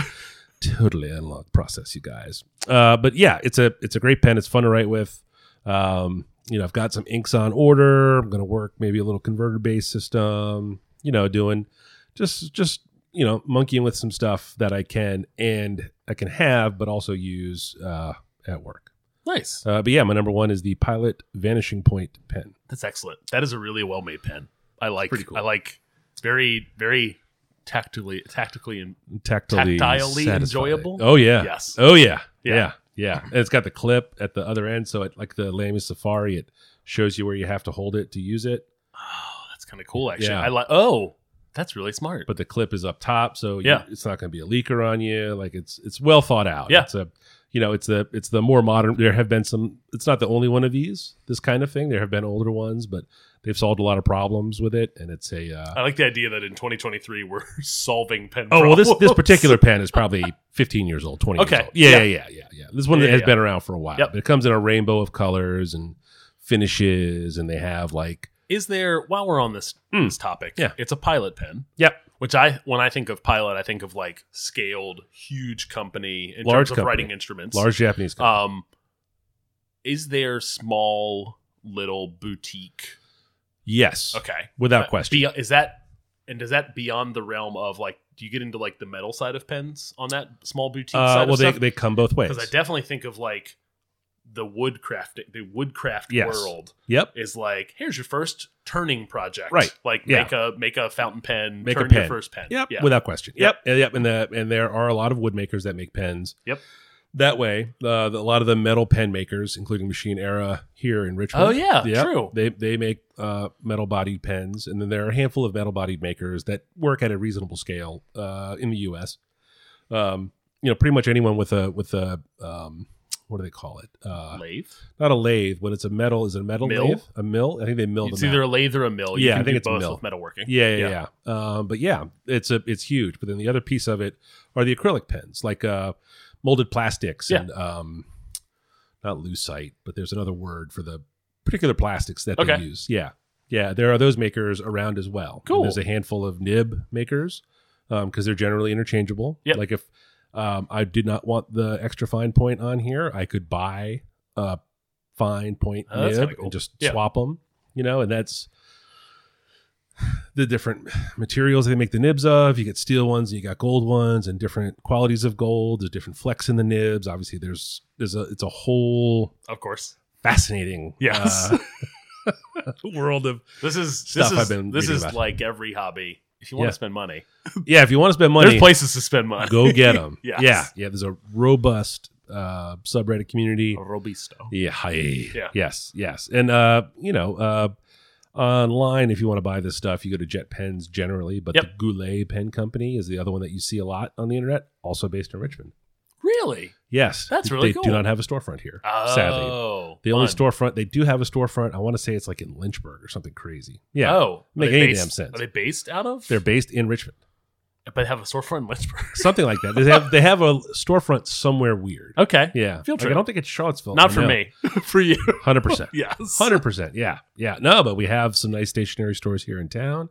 S1: totally analog process, you guys. Uh, but yeah, it's a it's a great pen. It's fun to write with. Um, you know, I've got some inks on order. I'm gonna work maybe a little converter based system. You know, doing just just you know monkeying with some stuff that I can and I can have, but also use uh, at work.
S2: [laughs] nice.
S1: Uh, but yeah, my number one is the Pilot Vanishing Point pen.
S2: That's excellent. That is a really well made pen. I like.
S1: Pretty cool.
S2: I like. Very very tactically tactically and
S1: tactily,
S2: Tactilely
S1: satisfying.
S2: enjoyable?
S1: Oh yeah.
S2: yes.
S1: Oh yeah. Yeah.
S2: Yeah.
S1: yeah. And it's got the clip at the other end, so it like the lamest Safari, it shows you where you have to hold it to use it.
S2: Oh, that's kind of cool. Actually,
S1: Yeah.
S2: I like. Oh, that's really smart.
S1: But the clip is up top, so you-
S2: Yeah.
S1: it's not going to be a leaker on you. Like it's it's well thought out.
S2: Yeah.
S1: It's a you know it's the it's the more modern. There have been some. It's not the only one of these this kind of thing. There have been older ones, but they've solved a lot of problems with it, and it's a. Uh,
S2: I like the idea that in 2023 we're [laughs] solving pen.
S1: Oh well, this this
S2: problems.
S1: particular pen is probably 15 years old, 20.
S2: Okay.
S1: Years old. Yeah, yeah,
S2: Yeah.
S1: yeah, yeah, yeah. This one
S2: Yeah,
S1: has
S2: yeah.
S1: been around for a while.
S2: Yep.
S1: But it comes in a rainbow of colors and finishes, and they have like
S2: Is there while we're on this
S1: Mm.
S2: this topic?
S1: Yeah.
S2: it's a pilot pen.
S1: Yep.
S2: Which I when I think of pilot, I think of like scaled, huge company in
S1: Large
S2: terms of
S1: company.
S2: writing instruments.
S1: Large Japanese company.
S2: Um, is there small little boutique?
S1: yes.
S2: Okay,
S1: Without
S2: But
S1: question.
S2: be- Uh, is that and does that beyond the realm of like? Do you get into like the metal side of pens on that small boutique
S1: Uh,
S2: side?
S1: well,
S2: of
S1: they,
S2: stuff?
S1: they come both ways.
S2: because I definitely think of like the woodcraft, the woodcraft
S1: Yes.
S2: world
S1: yep.
S2: is like here's your first turning project,
S1: Right.
S2: Like
S1: Yeah.
S2: make a make a fountain pen,
S1: Make a
S2: turn your
S1: pen.
S2: first pen,
S1: Yep.
S2: yeah,
S1: Without question.
S2: Yep.
S1: Yep. yep. And the and there are a lot of wood makers that make pens.
S2: Yep.
S1: That way, uh, the, a lot of the metal pen makers, including Machine Era here in Richmond.
S2: Oh, yeah,
S1: Yep.
S2: true.
S1: They they make uh, metal bodied pens, and then there are a handful of metal bodied makers that work at a reasonable scale uh, in the U.S. Um, you know, pretty much anyone with a with a um, what do they call it? Uh,
S2: lathe.
S1: not a lathe, but it's a metal. Is it a metal
S2: Mill?
S1: lathe? A mill? I think they mill
S2: It's
S1: them out.
S2: either a lathe or a mill. You
S1: Yeah,
S2: can
S1: I think
S2: do
S1: it's a
S2: both
S1: mill.
S2: with metalworking.
S1: Yeah, yeah, yeah. Um, but yeah, it's a it's huge. But then the other piece of it are the acrylic pens, like uh, molded plastics
S2: Yeah.
S1: and um, not lucite, but there's another word for the particular plastics that
S2: Okay.
S1: they use. Yeah, yeah. There are those makers around as well. And
S2: Cool.
S1: there's a handful of nib makers because they're generally interchangeable.
S2: Yep.
S1: Like if um, I did not want the extra fine point on here, I could buy a fine point
S2: Oh, that's
S1: nib
S2: kinda cool.
S1: and just
S2: Yeah.
S1: swap them. You know, and that's the different materials they make the nibs of. You get steel ones, and you got gold ones, and different qualities of gold. There's different flex in the nibs. Obviously, there's there's a it's a whole
S2: Of course.
S1: fascinating
S2: Yes. [laughs]
S1: uh, world of
S2: This is
S1: Stuff
S2: this is
S1: I've been
S2: this
S1: reading
S2: is
S1: about.
S2: like every hobby. If you want
S1: Yeah.
S2: to spend money,
S1: yeah. If you want to spend money,
S2: there's places to spend money. [laughs]
S1: go get them.
S2: Yes.
S1: Yeah, yeah. There's a robust uh, subreddit community.
S2: Robisto.
S1: Yeah, hi.
S2: Yeah.
S1: Yes, yes. And uh, you know, uh online if you want to buy this stuff, you go to Jet Pens generally, but
S2: Yep.
S1: the Goulet Pen Company is the other one that you see a lot on the internet, also based in Richmond.
S2: Really?
S1: Yes.
S2: That's really
S1: They
S2: cool.
S1: do not have a storefront here,
S2: Oh,
S1: sadly. The only
S2: fun.
S1: storefront they do have a storefront, I want to say it's like in Lynchburg or something crazy. Yeah.
S2: Oh,
S1: Make
S2: are they
S1: any
S2: based-
S1: damn sense.
S2: Are they based out of?
S1: They're based in Richmond.
S2: but have a storefront in Lynchburg. [laughs]
S1: Something like that. They have they have a storefront somewhere weird.
S2: okay.
S1: Yeah.
S2: Field
S1: Like,
S2: trip.
S1: I don't think it's Charlottesville.
S2: Not for [laughs] me. for you.
S1: Hundred
S2: [laughs]
S1: percent.
S2: Yes.
S1: Hundred percent. Yeah, yeah. No, but we have some nice stationery stores here in town.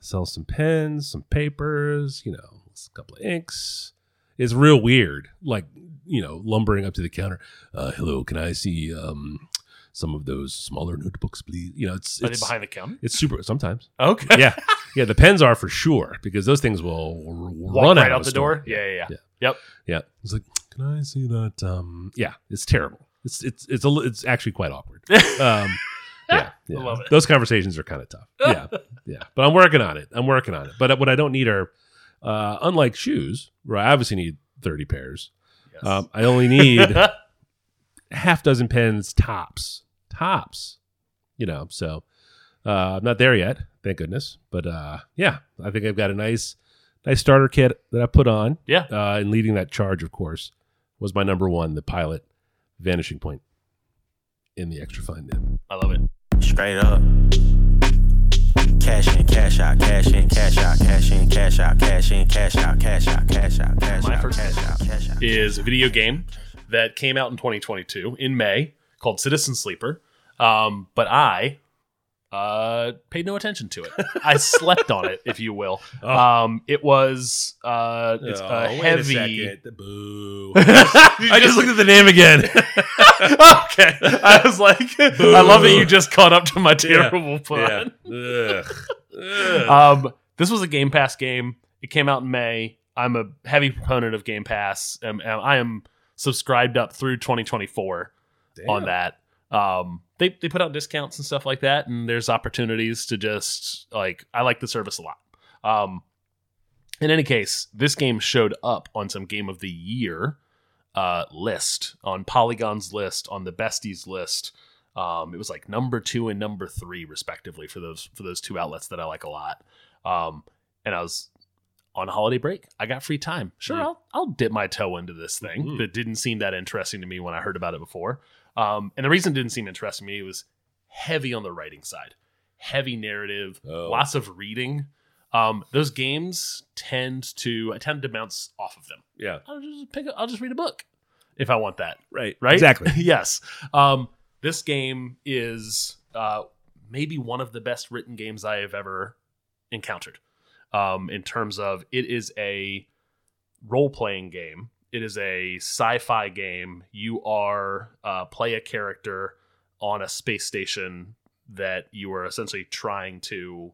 S1: Sell some pens, some papers. You know, a couple of inks. It's real weird. Like you know, lumbering up to the counter. Uh, hello, can I see um, some of those smaller notebooks, please? You know, it's
S2: Are they
S1: it's,
S2: behind the counter?
S1: it's super.
S2: [laughs]
S1: Sometimes,
S2: Okay.
S1: yeah, yeah. The pens are for sure because those things will r-
S2: Walk
S1: run
S2: right
S1: out,
S2: out
S1: of
S2: the
S1: store.
S2: door. Yeah, yeah, yeah.
S1: yeah. It's like, can I see that? Um, yeah, it's terrible. It's it's it's a, li- it's actually quite awkward. [laughs] Um, [laughs] yeah, yeah.
S2: love it.
S1: Those conversations are kind of [laughs] tough. Yeah, yeah. But I'm working on it. I'm working on it. But what I don't need are, uh, unlike shoes, where I obviously need 30 pairs,
S2: Yes.
S1: um, I only [laughs] need half dozen pens tops, tops. You know, so uh, I'm not there yet, thank goodness. But uh, yeah, I think I've got a nice, nice starter kit that I put on.
S2: Yeah.
S1: uh, and leading that charge, of course, was my number one, the pilot, vanishing point, in the extra fine nib.
S2: I love it.
S5: Straight up. Cash in, cash out, cash in, cash out, cash in, cash out, cash in, cash out, cash out, cash out, cash
S2: My
S5: out,
S2: first
S5: cash out, cash out.
S2: Is a video game that came out in 2022 in May called Citizen Sleeper. Um, but I uh, paid no attention to it. [laughs] I slept on it, if you will.
S1: Oh.
S2: Um, it was uh, it's a heavy.
S1: [laughs] Boo.
S2: [laughs] I
S1: I just looked at the name [laughs] again.
S2: okay. I [laughs] was like, I love that you just caught up to my terrible pun. um, this was a Game Pass game. It came out in May. I'm a heavy proponent of Game Pass. Um, and I am subscribed up through 2024 on that. Um, they they put out discounts and stuff like that, and there's opportunities to just like I like the service a lot. Um, in any case, this game showed up on some Game of the Year uh, list on Polygon's list on the Besties list. Um, it was like number two and number three respectively for those for those two outlets that I like a lot. Um, and I was on holiday break. I got free time. Sure,
S1: Mm.
S2: I'll I'll dip my toe into this thing
S1: Mhm.
S2: that didn't seem that interesting to me when I heard about it before. Um, and the reason it didn't seem interesting to me was heavy on the writing side, heavy narrative,
S1: Oh.
S2: lots of reading. Um, those games tend to I tend to bounce off of them.
S1: Yeah.
S2: I'll just pick. Up, I'll just read a book if I want that. [laughs]
S1: Right.
S2: Right.
S1: Exactly.
S2: yes. Um, this game is uh, maybe one of the best written games I have ever encountered. Um, in terms of it is a role playing game. It is a sci fi game. You are uh, play a character on a space station that you are essentially trying to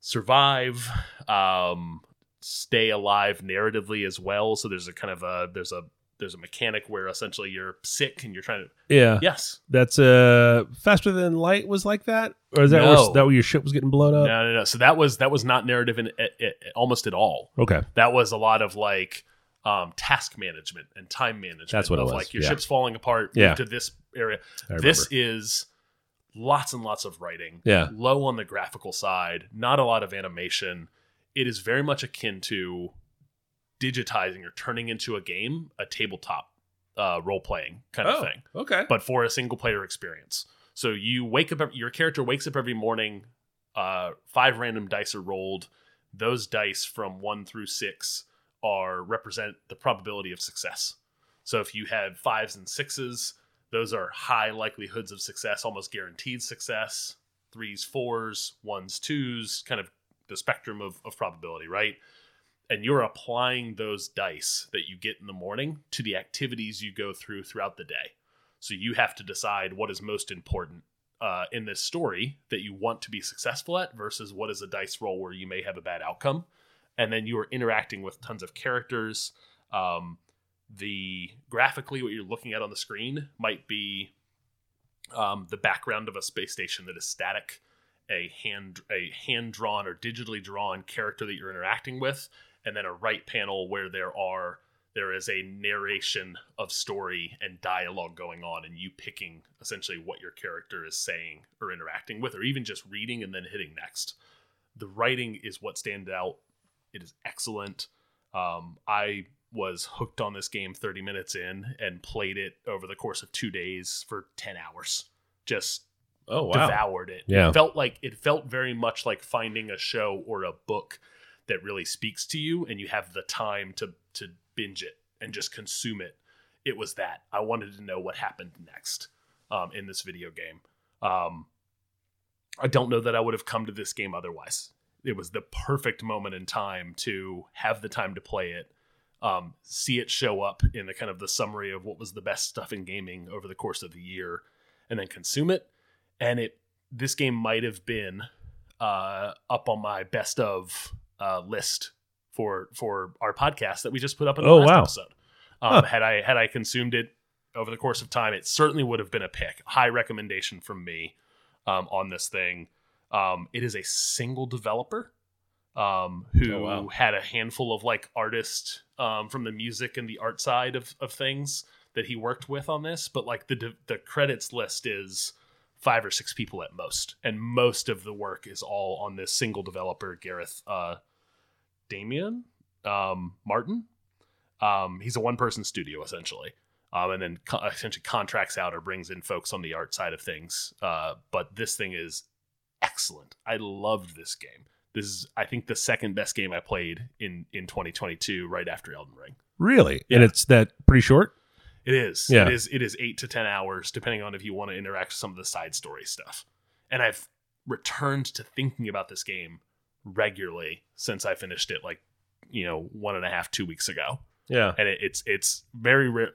S2: survive, um, stay alive narratively as well. So there's a kind of a there's a there's a mechanic where essentially you're sick and you're trying to
S1: Yeah.
S2: yes
S1: That's uh faster than light was like that, or is that
S2: No.
S1: where, that where your ship was getting blown
S2: no
S1: up?
S2: no no so that was that was not narrative in it, it, almost at all
S1: Okay.
S2: that was a lot of like um, task management and time management.
S1: That's what it
S2: of
S1: was,
S2: Like your
S1: yeah.
S2: ship's falling apart.
S1: Yeah.
S2: move to this area.
S1: I
S2: This is lots and lots of writing.
S1: Yeah.
S2: low on the graphical side. Not a lot of animation. It is very much akin to digitizing or turning into a game, a tabletop uh, role playing kind
S1: Oh.
S2: of thing
S1: Okay.
S2: but for a single player experience. So you wake up, your character wakes up every morning. Uh, five random dice are rolled. Those dice from one through six are represent the probability of success. So if you have fives and sixes, those are high likelihoods of success, almost guaranteed success. Threes, fours, ones, twos, kind of the spectrum of, of probability, right? and you're applying those dice that you get in the morning to the activities you go through throughout the day. So you have to decide what is most important uh, in this story that you want to be successful at versus what is a dice roll where you may have a bad outcome. And then you are interacting with tons of characters. Um, the graphically, what you're looking at on the screen might be um, the background of a space station that is static, a hand a hand drawn or digitally drawn character that you're interacting with, and then a right panel where there are there is a narration of story and dialogue going on and you picking essentially what your character is saying or interacting with or even just reading and then hitting next the writing is what stands out it is excellent um, i was hooked on this game 30 minutes in and played it over the course of two days for 10 hours just
S1: Oh
S2: devoured it.
S1: Yeah.
S2: It felt like it felt very much like finding a show or a book that really speaks to you and you have the time to to binge it and just consume it. It was that. I wanted to know what happened next um, in this video game. Um, I don't know that I would have come to this game otherwise. It was the perfect moment in time to have the time to play it, um, see it show up in the kind of the summary of what was the best stuff in gaming over the course of the year, and then consume it. And it this game might have been uh, up on my best of uh, list for for our podcast that we just put up in the
S1: Oh,
S2: last
S1: wow.
S2: episode. Um, Had I had I consumed it over the course of time, it certainly would have been a pick. High recommendation from me um, on this thing. Um, it is a single developer um, who
S1: Oh, wow.
S2: had a handful of like artists um, from the music and the art side of, of things that he worked with on this. But like the de- the credits list is five or six people at most, and most of the work is all on this single developer, Gareth uh, Damian um, Martin. Um, he's a one person studio essentially, um, and then co- essentially contracts out or brings in folks on the art side of things. Uh, but this thing is excellent. I loved this game. This is, I think, the second best game I played in in 2022, right after Elden Ring.
S1: Really? And it's that pretty short.
S2: It is.
S1: Yeah.
S2: It is. It is eight to ten hours, depending on if you want to interact with some of the side story stuff. And I've returned to thinking about this game regularly since I finished it, like you know, one and a half, two weeks ago.
S1: Yeah.
S2: And it, it's it's very rare,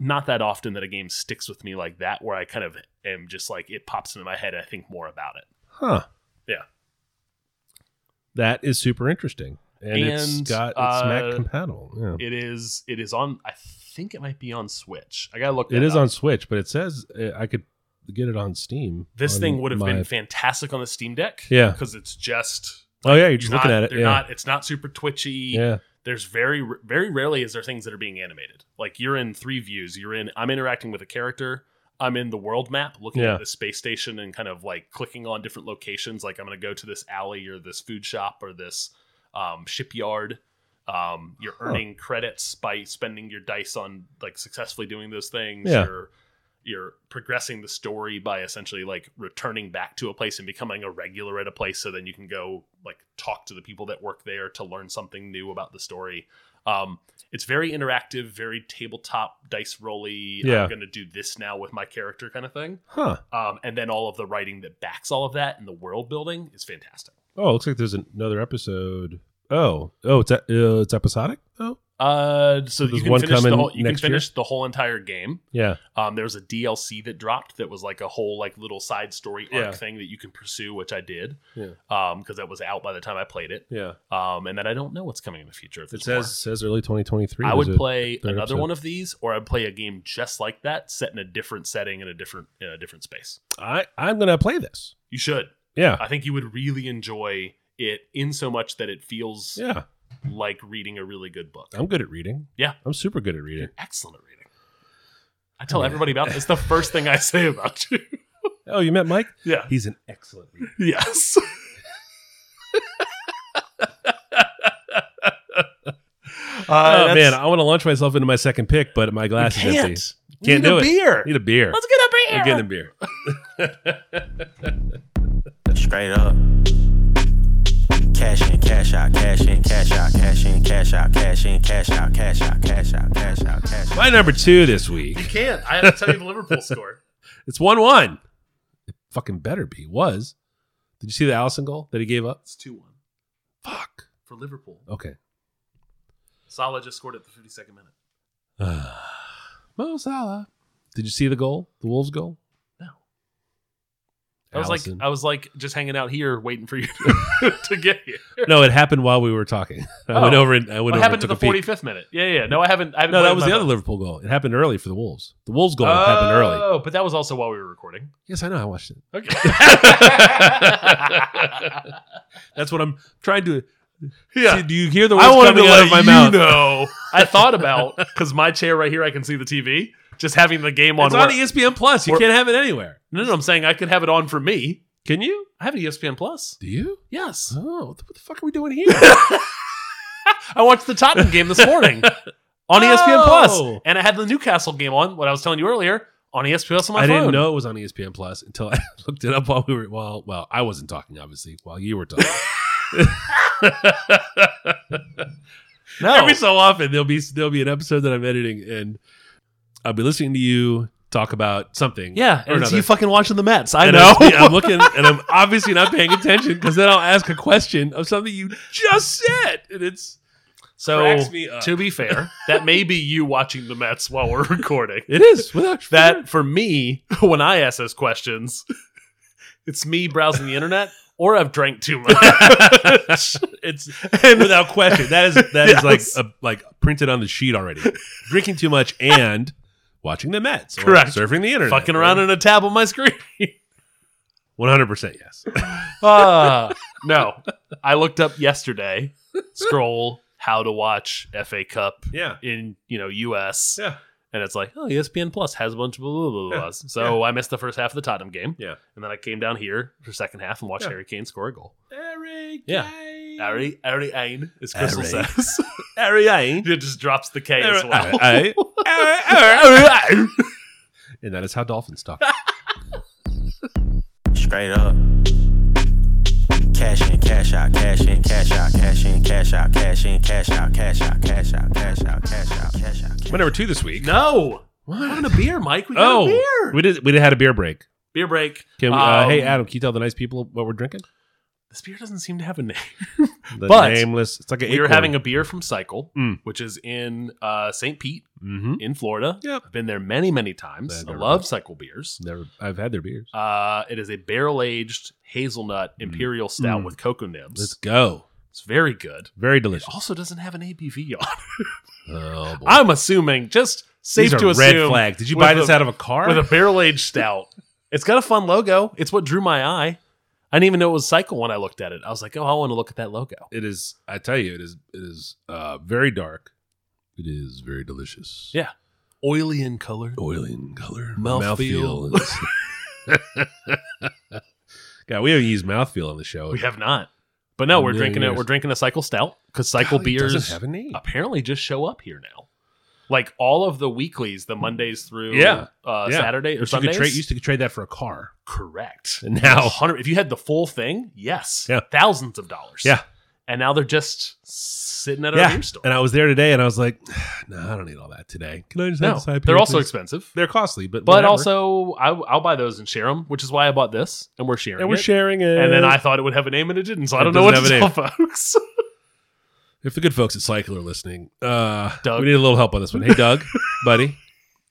S2: not that often that a game sticks with me like that, where I kind of am just like it pops into my head. I think more about it.
S1: Huh.
S2: Yeah.
S1: That is super interesting, and, it's
S2: And,
S1: got it's
S2: uh,
S1: Mac compatible. Yeah.
S2: It is. It is on. I think it might be on Switch. I gotta look.
S1: it
S2: that
S1: is
S2: up.
S1: on Switch, but it says uh, I could get it on Steam.
S2: This
S1: on
S2: thing would have
S1: my-
S2: been fantastic on the Steam Deck.
S1: Yeah.
S2: because it's just
S1: Oh yeah, you're just looking
S2: not-
S1: at it.
S2: They're
S1: Yeah.
S2: not. It's not super twitchy.
S1: yeah.
S2: There's very very rarely is there things that are being animated. Like you're in three views. You're in. I'm interacting with a character. I'm in the world map, looking
S1: Yeah.
S2: at the space station and kind of like clicking on different locations. Like I'm going to go to this alley or this food shop or this um, shipyard. Um, you're earning credits by spending your dice on like successfully doing those things.
S1: Yeah.
S2: You're you're progressing the story by essentially like returning back to a place and becoming a regular at a place so then you can go like talk to the people that work there to learn something new about the story Um, it's very interactive, very tabletop, dice rolly.
S1: Yeah.
S2: I'm going to do this now with my character kind of thing.
S1: Huh.
S2: Um, and then all of the writing that backs all of that and the world building is fantastic.
S1: Oh, it looks like there's another episode. Oh, oh, it's uh, it's episodic. Oh,
S2: Uh, so
S1: there's
S2: you can
S1: one
S2: finish the
S1: coming
S2: whole, you can
S1: next year?
S2: finish the whole entire game.
S1: yeah.
S2: Um, there was a DLC that dropped that was like a whole like little side story arc
S1: Yeah.
S2: thing that you can pursue, which I did.
S1: Yeah.
S2: Um, because that was out by the time I played it.
S1: Yeah.
S2: Um, and then I don't know what's coming in the future. If
S1: It
S2: there's
S1: says
S2: more.
S1: says early 2023.
S2: I
S1: There's
S2: would
S1: a-
S2: play
S1: third
S2: another
S1: episode.
S2: one of these, or I'd play a game just like that, set in a different setting in a different in a different space.
S1: I I'm gonna play this.
S2: You should.
S1: Yeah.
S2: I think you would really enjoy it in so much that it feels
S1: Yeah.
S2: like reading a really good book.
S1: I'm good at reading.
S2: Yeah.
S1: I'm super good at reading.
S2: You're excellent at reading. I tell everybody about this. The first thing I say about you. [laughs]
S1: Oh, you met Mike?
S2: Yeah.
S1: He's an excellent reader.
S2: Yes. Uh,
S1: oh man, I want to launch myself into my second pick, but my glass is empty.
S2: can't.
S1: Can't
S2: Need
S1: do
S2: a
S1: it.
S2: beer.
S1: Need a beer.
S2: Let's get a beer.
S1: I'm getting a beer.
S5: Straight up. Cash in, cash out, cash in, cash out, cash in, cash out, cash in, cash out, cash out, cash out, cash out, cash out.
S1: My number two this week.
S2: You can't. I have to tell you the Liverpool [laughs] score.
S1: It's one one. It fucking better be. Was. Did you see the Allison goal that he gave up?
S2: It's two one
S1: Fuck.
S2: for Liverpool.
S1: Okay.
S2: Salah just scored at the 52nd minute.
S1: Mo Salah. Did you see the goal? The Wolves goal?
S2: No. I was like,
S1: Allison.
S2: I was like, just hanging out here, waiting for you [laughs] to, to get here.
S1: no, it happened while we were talking. [laughs] I
S2: Oh.
S1: went over and I went
S2: What
S1: over
S2: happened to
S1: and
S2: the
S1: took a peek.
S2: 45th minute? Yeah, yeah. No, I haven't. I haven't
S1: No, that
S2: played
S1: was
S2: my
S1: the other
S2: vote.
S1: Liverpool goal. It happened early for the Wolves. The Wolves goal happened early.
S2: Oh, but that was also while we were recording.
S1: Yes, I know. I watched it.
S2: Okay.
S1: [laughs]
S2: [laughs]
S1: That's what I'm trying to.
S2: yeah.
S1: See, do you hear the words
S2: I wanted to
S1: coming out
S2: let
S1: of my
S2: you
S1: mouth?
S2: know. [laughs] I thought about because my chair right here, I can see the TV. Just having the game on. E
S1: It's on E
S2: where-
S1: ESPN Plus. You
S2: We're-
S1: can't have it anywhere.
S2: no, no, I'm saying I could have it on for me.
S1: Can you?
S2: I have E ESPN Plus.
S1: Do you?
S2: Yes.
S1: Oh, what the, what the fuck are we [laughs] doing here?
S2: I watched the Tottenham game this [laughs] morning on E ESPN
S1: Oh.
S2: Plus, and I had the Newcastle game on. What I was telling you earlier on E ESPN Plus on my
S1: I
S2: phone.
S1: didn't know it was on E ESPN Plus until [laughs] I looked it up while we were. Well, well, I wasn't talking obviously while you were talking.
S2: [laughs] No.
S1: Every so often there'll be there'll be an episode that I'm editing and I'll be listening to you talk about something. or
S2: yeah, and it's
S1: another.
S2: you fucking watching the Mets. I
S1: And
S2: know. [laughs]
S1: I'm, yeah, I'm looking and I'm obviously not paying attention because then I'll ask a question of something you just said, and it's
S2: so
S1: cracks me up.
S2: to be fair, that may be you watching the Mets while we're [laughs] recording.
S1: it is without
S2: That for me, [laughs] when I ask those questions, it's me browsing the internet or I've drank
S1: [laughs]
S2: too much.
S1: it's without question that is that is
S2: Yes.
S1: like a, like printed on the sheet already. Drinking too much and watching the Mets, or
S2: Correct.
S1: Surfing the [laughs] internet,
S2: fucking around in a tab on
S1: [laughs]
S2: my screen.
S1: One hundred percent, yes.
S2: Ah, no, I looked up yesterday. Scroll how to watch FA Cup
S1: Yeah,
S2: in you know US.
S1: Yeah.
S2: And it's like, oh, ESPN Plus has a bunch of blah blah blah. blah. So I missed the first half of the Tottenham game.
S1: Yeah.
S2: And then I came down here for second half and watched
S1: Yeah.
S2: Harry Kane score a goal.
S1: Eric.
S2: Yeah. Harry, Harry Kane, as
S1: [laughs]
S2: Crystal
S1: Harry.
S2: says.
S1: Ari Ain.
S2: it just drops the K as well.
S1: Ari- Ari- and that is how dolphins
S2: [laughs]
S1: talk.
S5: Straight up. Cash in, cash out, cash in, cash out, cash in, cash out, cash in, cash out, cash out, cash out, cash out, cash out, cash out.
S1: My number two this week.
S2: no. We're having a beer, Mike. We got
S1: oh,
S2: a beer.
S1: we did. We did had a beer break.
S2: beer break.
S1: Can we, uh,
S2: Um,
S1: hey Adam, can you tell the nice people what we're drinking?
S2: This beer doesn't seem to have a name.
S1: The
S2: But-
S1: nameless. It's like an
S2: we are
S1: acorn.
S2: having a beer from Cycle,
S1: Mm.
S2: which is in uh, St. Pete
S1: Mhm.
S2: in Florida.
S1: Yep.
S2: I've been there many, many times.
S1: I've
S2: I
S1: never
S2: love Cycle beers.
S1: Never. I've had their beers.
S2: Uh, it is a barrel aged hazelnut imperial stout
S1: Mm.
S2: with cocoa nibs.
S1: Let's go.
S2: it's very good.
S1: Very
S2: It
S1: delicious.
S2: also doesn't have an ABV on. it.
S1: Oh boy.
S2: I'm assuming, just safe
S1: These are
S2: to
S1: red
S2: assume,
S1: flag. Did you
S2: with
S1: buy this
S2: a-
S1: out of a car?
S2: with a barrel aged stout. It's got a fun logo. It's what drew my eye. I didn't even know it was Cycle when I looked at it. I was like, oh, I want to look at that logo.
S1: it is. I tell you, it is. It is uh, very dark. It is very delicious.
S2: Yeah. Oily in color.
S1: Oily in color.
S2: Mouthfeel.
S1: Mouthfeel
S2: [laughs]
S1: is- God, we haven't used mouthfeel on the show.
S2: We have not. But no, we're
S1: Yeah,
S2: drinking
S1: yeah.
S2: it. We're drinking a Cycle Stout because Cycle
S1: Golly, it
S2: beers
S1: doesn't have a name.
S2: apparently just show up here now. Like all of the weeklies, the Mondays through
S1: Yeah.
S2: Uh,
S1: Yeah.
S2: Saturday or
S1: But you could
S2: Sundays.
S1: trade, used to could trade that for a car.
S2: correct.
S1: And now-
S2: 100 if you had the full thing, yes,
S1: Yeah.
S2: thousands of dollars.
S1: Yeah.
S2: and now they're just sitting at our
S1: Yeah.
S2: beer store.
S1: And I was there today and I was like, [sighs] no, I don't need all that today. Can I just have
S2: No,
S1: this IPA?
S2: they're also
S1: please?
S2: expensive,
S1: They're costly, but
S2: but
S1: whatever.
S2: also I, I'll buy those and share them, which is why I bought this, and we're sharing.
S1: and we're
S2: it.
S1: sharing it.
S2: And then I thought it would have a name, and it didn't. So
S1: It
S2: I don't know what
S1: doesn't
S2: to tell
S1: have
S2: folks. [laughs]
S1: if the good folks at Cycle are listening, uh,
S2: Doug.
S1: we need a little help on this one. Hey, Doug, [laughs] buddy.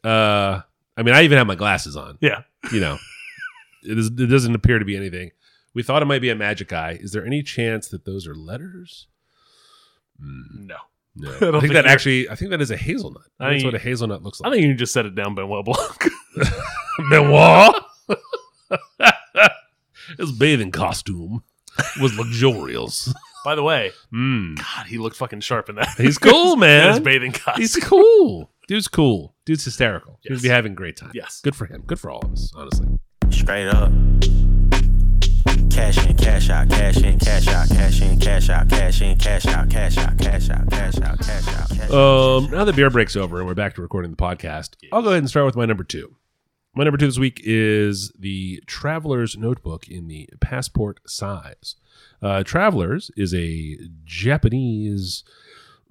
S1: Uh, I mean, I even have my glasses on.
S2: yeah,
S1: You know, it, is, it doesn't appear to be anything. We thought it might be a magic eye. Is there any chance that those are letters? Hmm,
S2: no. [laughs]
S1: No. I,
S2: don't
S1: think,
S2: think
S1: that
S2: you're-
S1: actually, I think that is a hazelnut.
S2: I
S1: That's
S2: think-
S1: what a hazelnut looks
S2: I
S1: like.
S2: think you can just set it down,
S1: [laughs]
S2: Benoit Blanc.
S1: Benoit. [laughs] His bathing costume was
S2: [laughs]
S1: luxurious.
S2: By the way,
S1: Mm.
S2: God, he looked fucking sharp in that.
S1: He's cool,
S2: [laughs] in his
S1: man.
S2: bathing costume.
S1: He's cool. Dude's cool. Dude's hysterical. He's
S2: Yes.
S1: be having a great time.
S2: Yes.
S1: Good for him. Good for all of us, honestly.
S5: Straight up. Cash in, cash out, cash in, cash out, cash in, cash out, cash in, cash out, cash out, cash out, cash out, cash out, cash out.
S1: Um, now the beer break's over and we're back to recording the podcast, I'll go ahead and start with my number two. My number two this week is the Traveler's Notebook in the Passport Size. Uh, Travelers is a Japanese,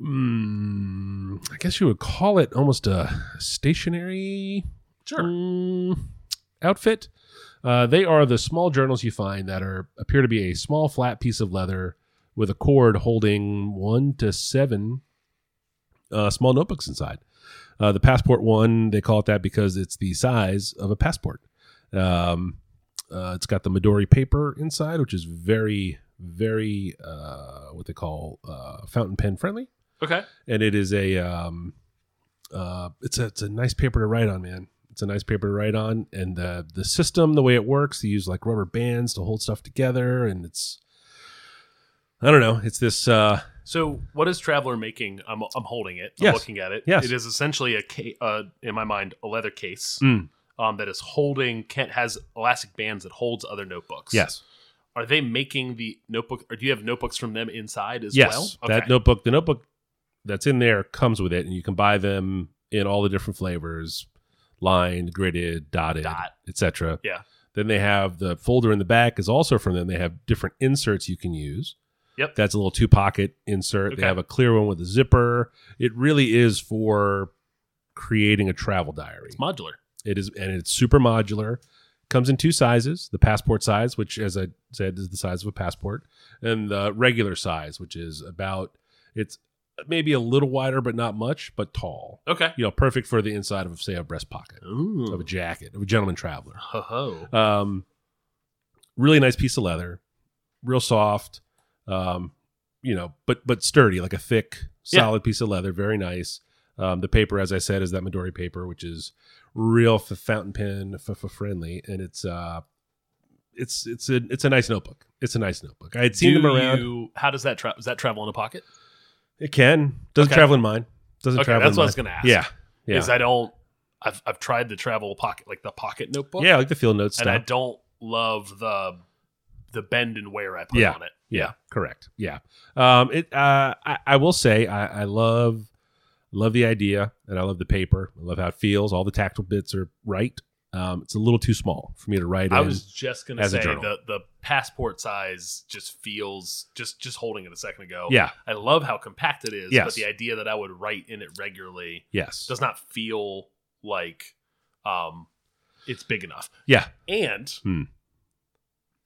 S1: mm, I guess you would call it almost a stationary mm, outfit. Uh, they are the small journals you find that are appear to be a small flat piece of leather with a cord holding one to seven uh, small notebooks inside. Uh, the passport one, they call it that because it's the size of a passport. Um, uh, it's got the Midori paper inside, which is very, very uh, what they call uh, fountain pen friendly,
S2: Okay.
S1: and it is a um, uh, it's a it's a nice paper to write on, man. It's a nice paper to write on, and the the system, the way it works, they use like rubber bands to hold stuff together, and it's I don't know, it's this uh,
S2: So, what is Traveler making? I'm, I'm holding it. I'm
S1: Yes.
S2: looking at it.
S1: Yes.
S2: It is essentially a, ca- uh, in my mind, a leather case
S1: Mm.
S2: um, that is holding, can has elastic bands that holds other notebooks.
S1: yes.
S2: Are they making the notebook, or do you have notebooks from them inside as
S1: yes,
S2: well?
S1: that notebook, the notebook that's in there comes with it, and you can buy them in all the different flavors, lined, gridded, dotted,
S2: Dot.
S1: etc.
S2: Yeah.
S1: Then they have the folder in the back is also from them. They have different inserts you can use.
S2: Yep.
S1: That's a little two pocket insert. They
S2: Okay.
S1: have a clear one with a zipper. It really is for creating a travel diary.
S2: It's modular.
S1: It is, and it's super modular. Comes in two sizes: the passport size, which, as I said, is the size of a passport, and the regular size, which is about it's maybe a little wider, but not much, but tall.
S2: Okay.
S1: You know, perfect for the inside of, say, a breast pocket of a jacket of a gentleman traveler.
S2: Ho ho.
S1: Um, really nice piece of leather, real soft, um, you know, but but sturdy, like a thick,
S2: Yeah.
S1: solid piece of leather. Very nice. Um, the paper, as I said, is that Midori paper, which is real f- fountain pen f- f- friendly, and it's uh, it's it's a it's a nice notebook. It's a nice notebook. I had seen
S2: Do
S1: them around.
S2: you- how does that travel? Does that travel in a pocket?
S1: it can doesn't
S2: Okay.
S1: travel in mine. Doesn't
S2: Okay,
S1: travel. in
S2: that's what I
S1: mine.
S2: was gonna ask.
S1: Yeah, yeah,
S2: Because I don't. I've I've tried the travel pocket, like the pocket notebook.
S1: yeah. I Like the field notes
S2: and I
S1: stuff.
S2: don't love the the bend and wear I put
S1: Yeah.
S2: on it.
S1: Yeah, correct. Yeah. Um, it. Uh, I, I will say I, I love love the idea and I love the paper. I love how it feels. All the tactile bits are right. Um, it's a little too small for me to write
S2: I
S1: in.
S2: was just gonna
S1: as a
S2: say
S1: journal.
S2: the the passport size just feels just just holding it a second ago.
S1: yeah.
S2: I love how compact it is,
S1: Yes.
S2: but the idea that I would write in it regularly
S1: Yes.
S2: does not feel like um it's big enough.
S1: Yeah.
S2: And
S1: Hmm.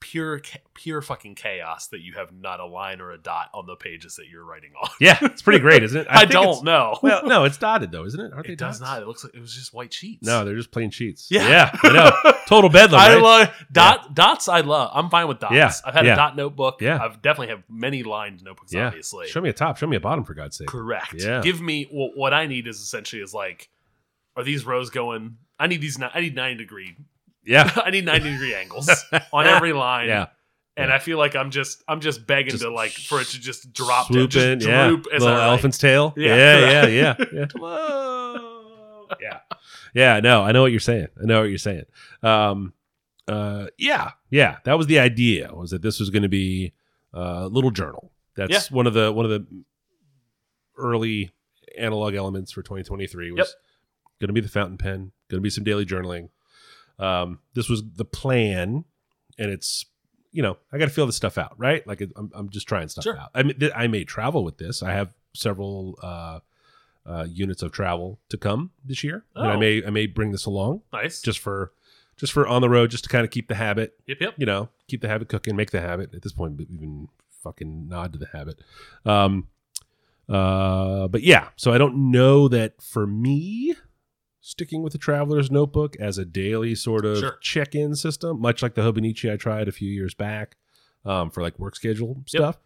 S2: pure ca- pure fucking chaos that you have not a line or a dot on the pages that you're writing
S1: [laughs]
S2: on.
S1: Yeah. It's pretty great, isn't it?
S2: [laughs] I,
S1: think
S2: don't
S1: it's-
S2: know.
S1: [laughs] Well, no, it's dotted though, isn't it? Aren't they
S2: it does
S1: dots?
S2: not. It looks like it was just white sheets.
S1: No, they're just plain sheets.
S2: Yeah.
S1: Yeah. I
S2: [laughs]
S1: know. Total bedlam.
S2: I
S1: right?
S2: love dot dots. I love. I'm fine with dots.
S1: Yeah,
S2: I've had
S1: yeah.
S2: a dot notebook.
S1: Yeah.
S2: I've definitely have many lined notebooks.
S1: Yeah.
S2: Obviously,
S1: Show me a top. Show me a bottom for God's sake.
S2: correct.
S1: Yeah.
S2: Give me wh- what I need is essentially is like, are these rows going? I need these. ni- I need ninety degree. [laughs]
S1: Yeah.
S2: I need ninety
S1: [laughs]
S2: degree angles on every line.
S1: Yeah.
S2: And
S1: yeah.
S2: I feel like I'm just I'm just begging
S1: Just
S2: to like for it to just drop
S1: Swoop
S2: down,
S1: in.
S2: just
S1: Yeah.
S2: droop as
S1: Little
S2: I write.
S1: elephant's tail. Yeah.
S2: Yeah,
S1: Yeah.
S2: correct.
S1: Yeah. yeah. [laughs] yeah yeah no i know what you're saying i know what you're saying um uh yeah yeah that was the idea was that this was going to be uh, a little journal that's one of the one of the early analog elements for 2023 was
S2: Yep.
S1: going to be the fountain pen going to be some daily journaling um this was the plan and it's you know, I got to feel this stuff out, right? Like I'm, I'm just trying stuff
S2: Sure.
S1: out. I mean, th- I may travel with this. I have several uh, uh, units of travel to come this year, and I
S2: Oh.
S1: may I may bring this along
S2: Nice.
S1: just for just for on the road, just to kind of keep the habit,
S2: yep, yep.
S1: you know, keep the habit cooking, make the habit. At this point, we even fucking nod to the habit. Um, uh, but yeah, so I don't know that for me, sticking with the traveler's notebook as a daily sort of
S2: Sure.
S1: check-in system, much like the Hobonichi I tried a few years back um, for like work schedule stuff,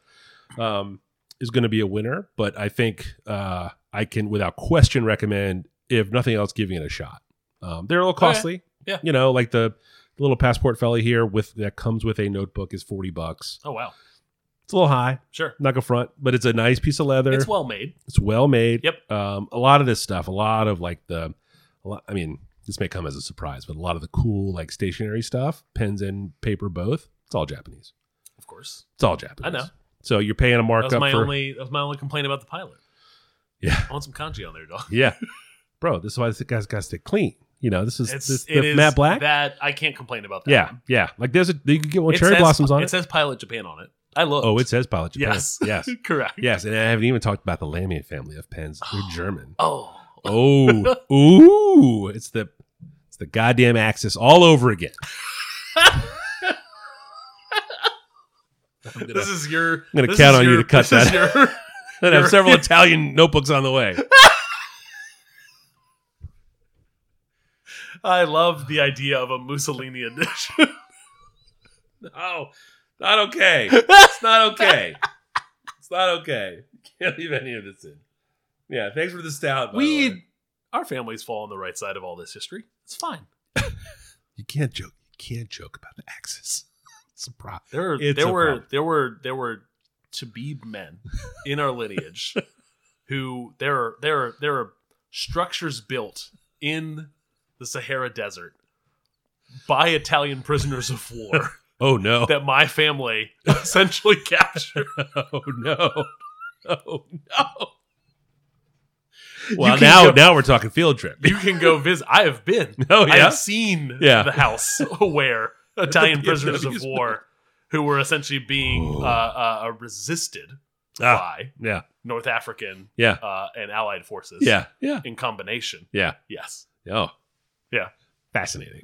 S1: um, is going to be a winner. But I think uh, I can, without question, recommend if nothing else, giving it a shot. Um, they're a little
S2: Okay.
S1: costly,
S2: Oh, Yeah.
S1: You know, like the, the little passport fella here with that comes with a notebook is forty bucks.
S2: Oh wow.
S1: It's a little high,
S2: Sure.
S1: not gonna front, but it's a nice piece of leather.
S2: It's well made.
S1: It's well made.
S2: Yep.
S1: Um, a lot of this stuff, a lot of like the, a lot, I mean, this may come as a surprise, but a lot of the cool like stationery stuff, pens and paper both, it's all Japanese.
S2: Of course.
S1: It's all Japanese.
S2: I know.
S1: So you're paying a
S2: That
S1: markup
S2: was my
S1: for
S2: only that was my only complaint about the pilot.
S1: [laughs] yeah,
S2: I want some kanji on there, dog.
S1: yeah, [laughs] bro. This is why this guy's got to stay clean. You know, this is
S2: It's
S1: this,
S2: it
S1: the
S2: is
S1: matte black.
S2: That I can't complain about that.
S1: yeah, yeah. Like there's a you can get one
S2: It
S1: cherry
S2: says-
S1: blossoms on it.
S2: It says Pilot Japan on it. I look.
S1: oh, it says Pilot Japan.
S2: Yes.
S1: [laughs] yes,
S2: [laughs] correct.
S1: yes. And I haven't even talked about the Lamia family of pens. [gasps] They're German.
S2: Oh,
S1: [laughs] Oh, ooh! It's the it's the goddamn axis all over again. [laughs] I'm gonna,
S2: this is your. I'm
S1: gonna count on you to cut that. I have [laughs]
S2: you're-
S1: several Italian notebooks on the way.
S2: [laughs] I love the idea of a Mussolini edition. [laughs]
S1: No, Oh, not [laughs] okay. It's not okay. It's not okay. [laughs] Can't leave any of this in. Yeah, thanks for the stout. by the way.
S2: we, our families fall on the right side of all this history. It's fine.
S1: you can't joke. You can't joke about the axis. [laughs] It's a prop.
S2: There, are-
S1: It's
S2: there
S1: a
S2: were,
S1: problem.
S2: there were, there were Tabib men in our lineage
S1: [laughs]
S2: who there are, there are, there are structures built in the Sahara Desert by Italian prisoners of
S1: [laughs]
S2: war
S1: Oh no.
S2: that my family [laughs] essentially captured.
S1: Oh no. Oh no.
S2: You
S1: Well,
S2: can
S1: now
S2: go-
S1: now we're talking field trip.
S2: You
S1: [laughs]
S2: can go visit. I have been.
S1: Oh, yeah?
S2: I have seen
S1: Yeah. [laughs]
S2: the house where Italian prisoners of
S1: POWs.
S2: war who were essentially being uh, uh, uh, resisted
S1: Ah,
S2: by
S1: yeah.
S2: North African
S1: Yeah.
S2: uh, and Allied forces.
S1: Yeah. Yeah.
S2: In combination.
S1: Yeah.
S2: Yes.
S1: Oh.
S2: Yeah. [laughs]
S1: Fascinating.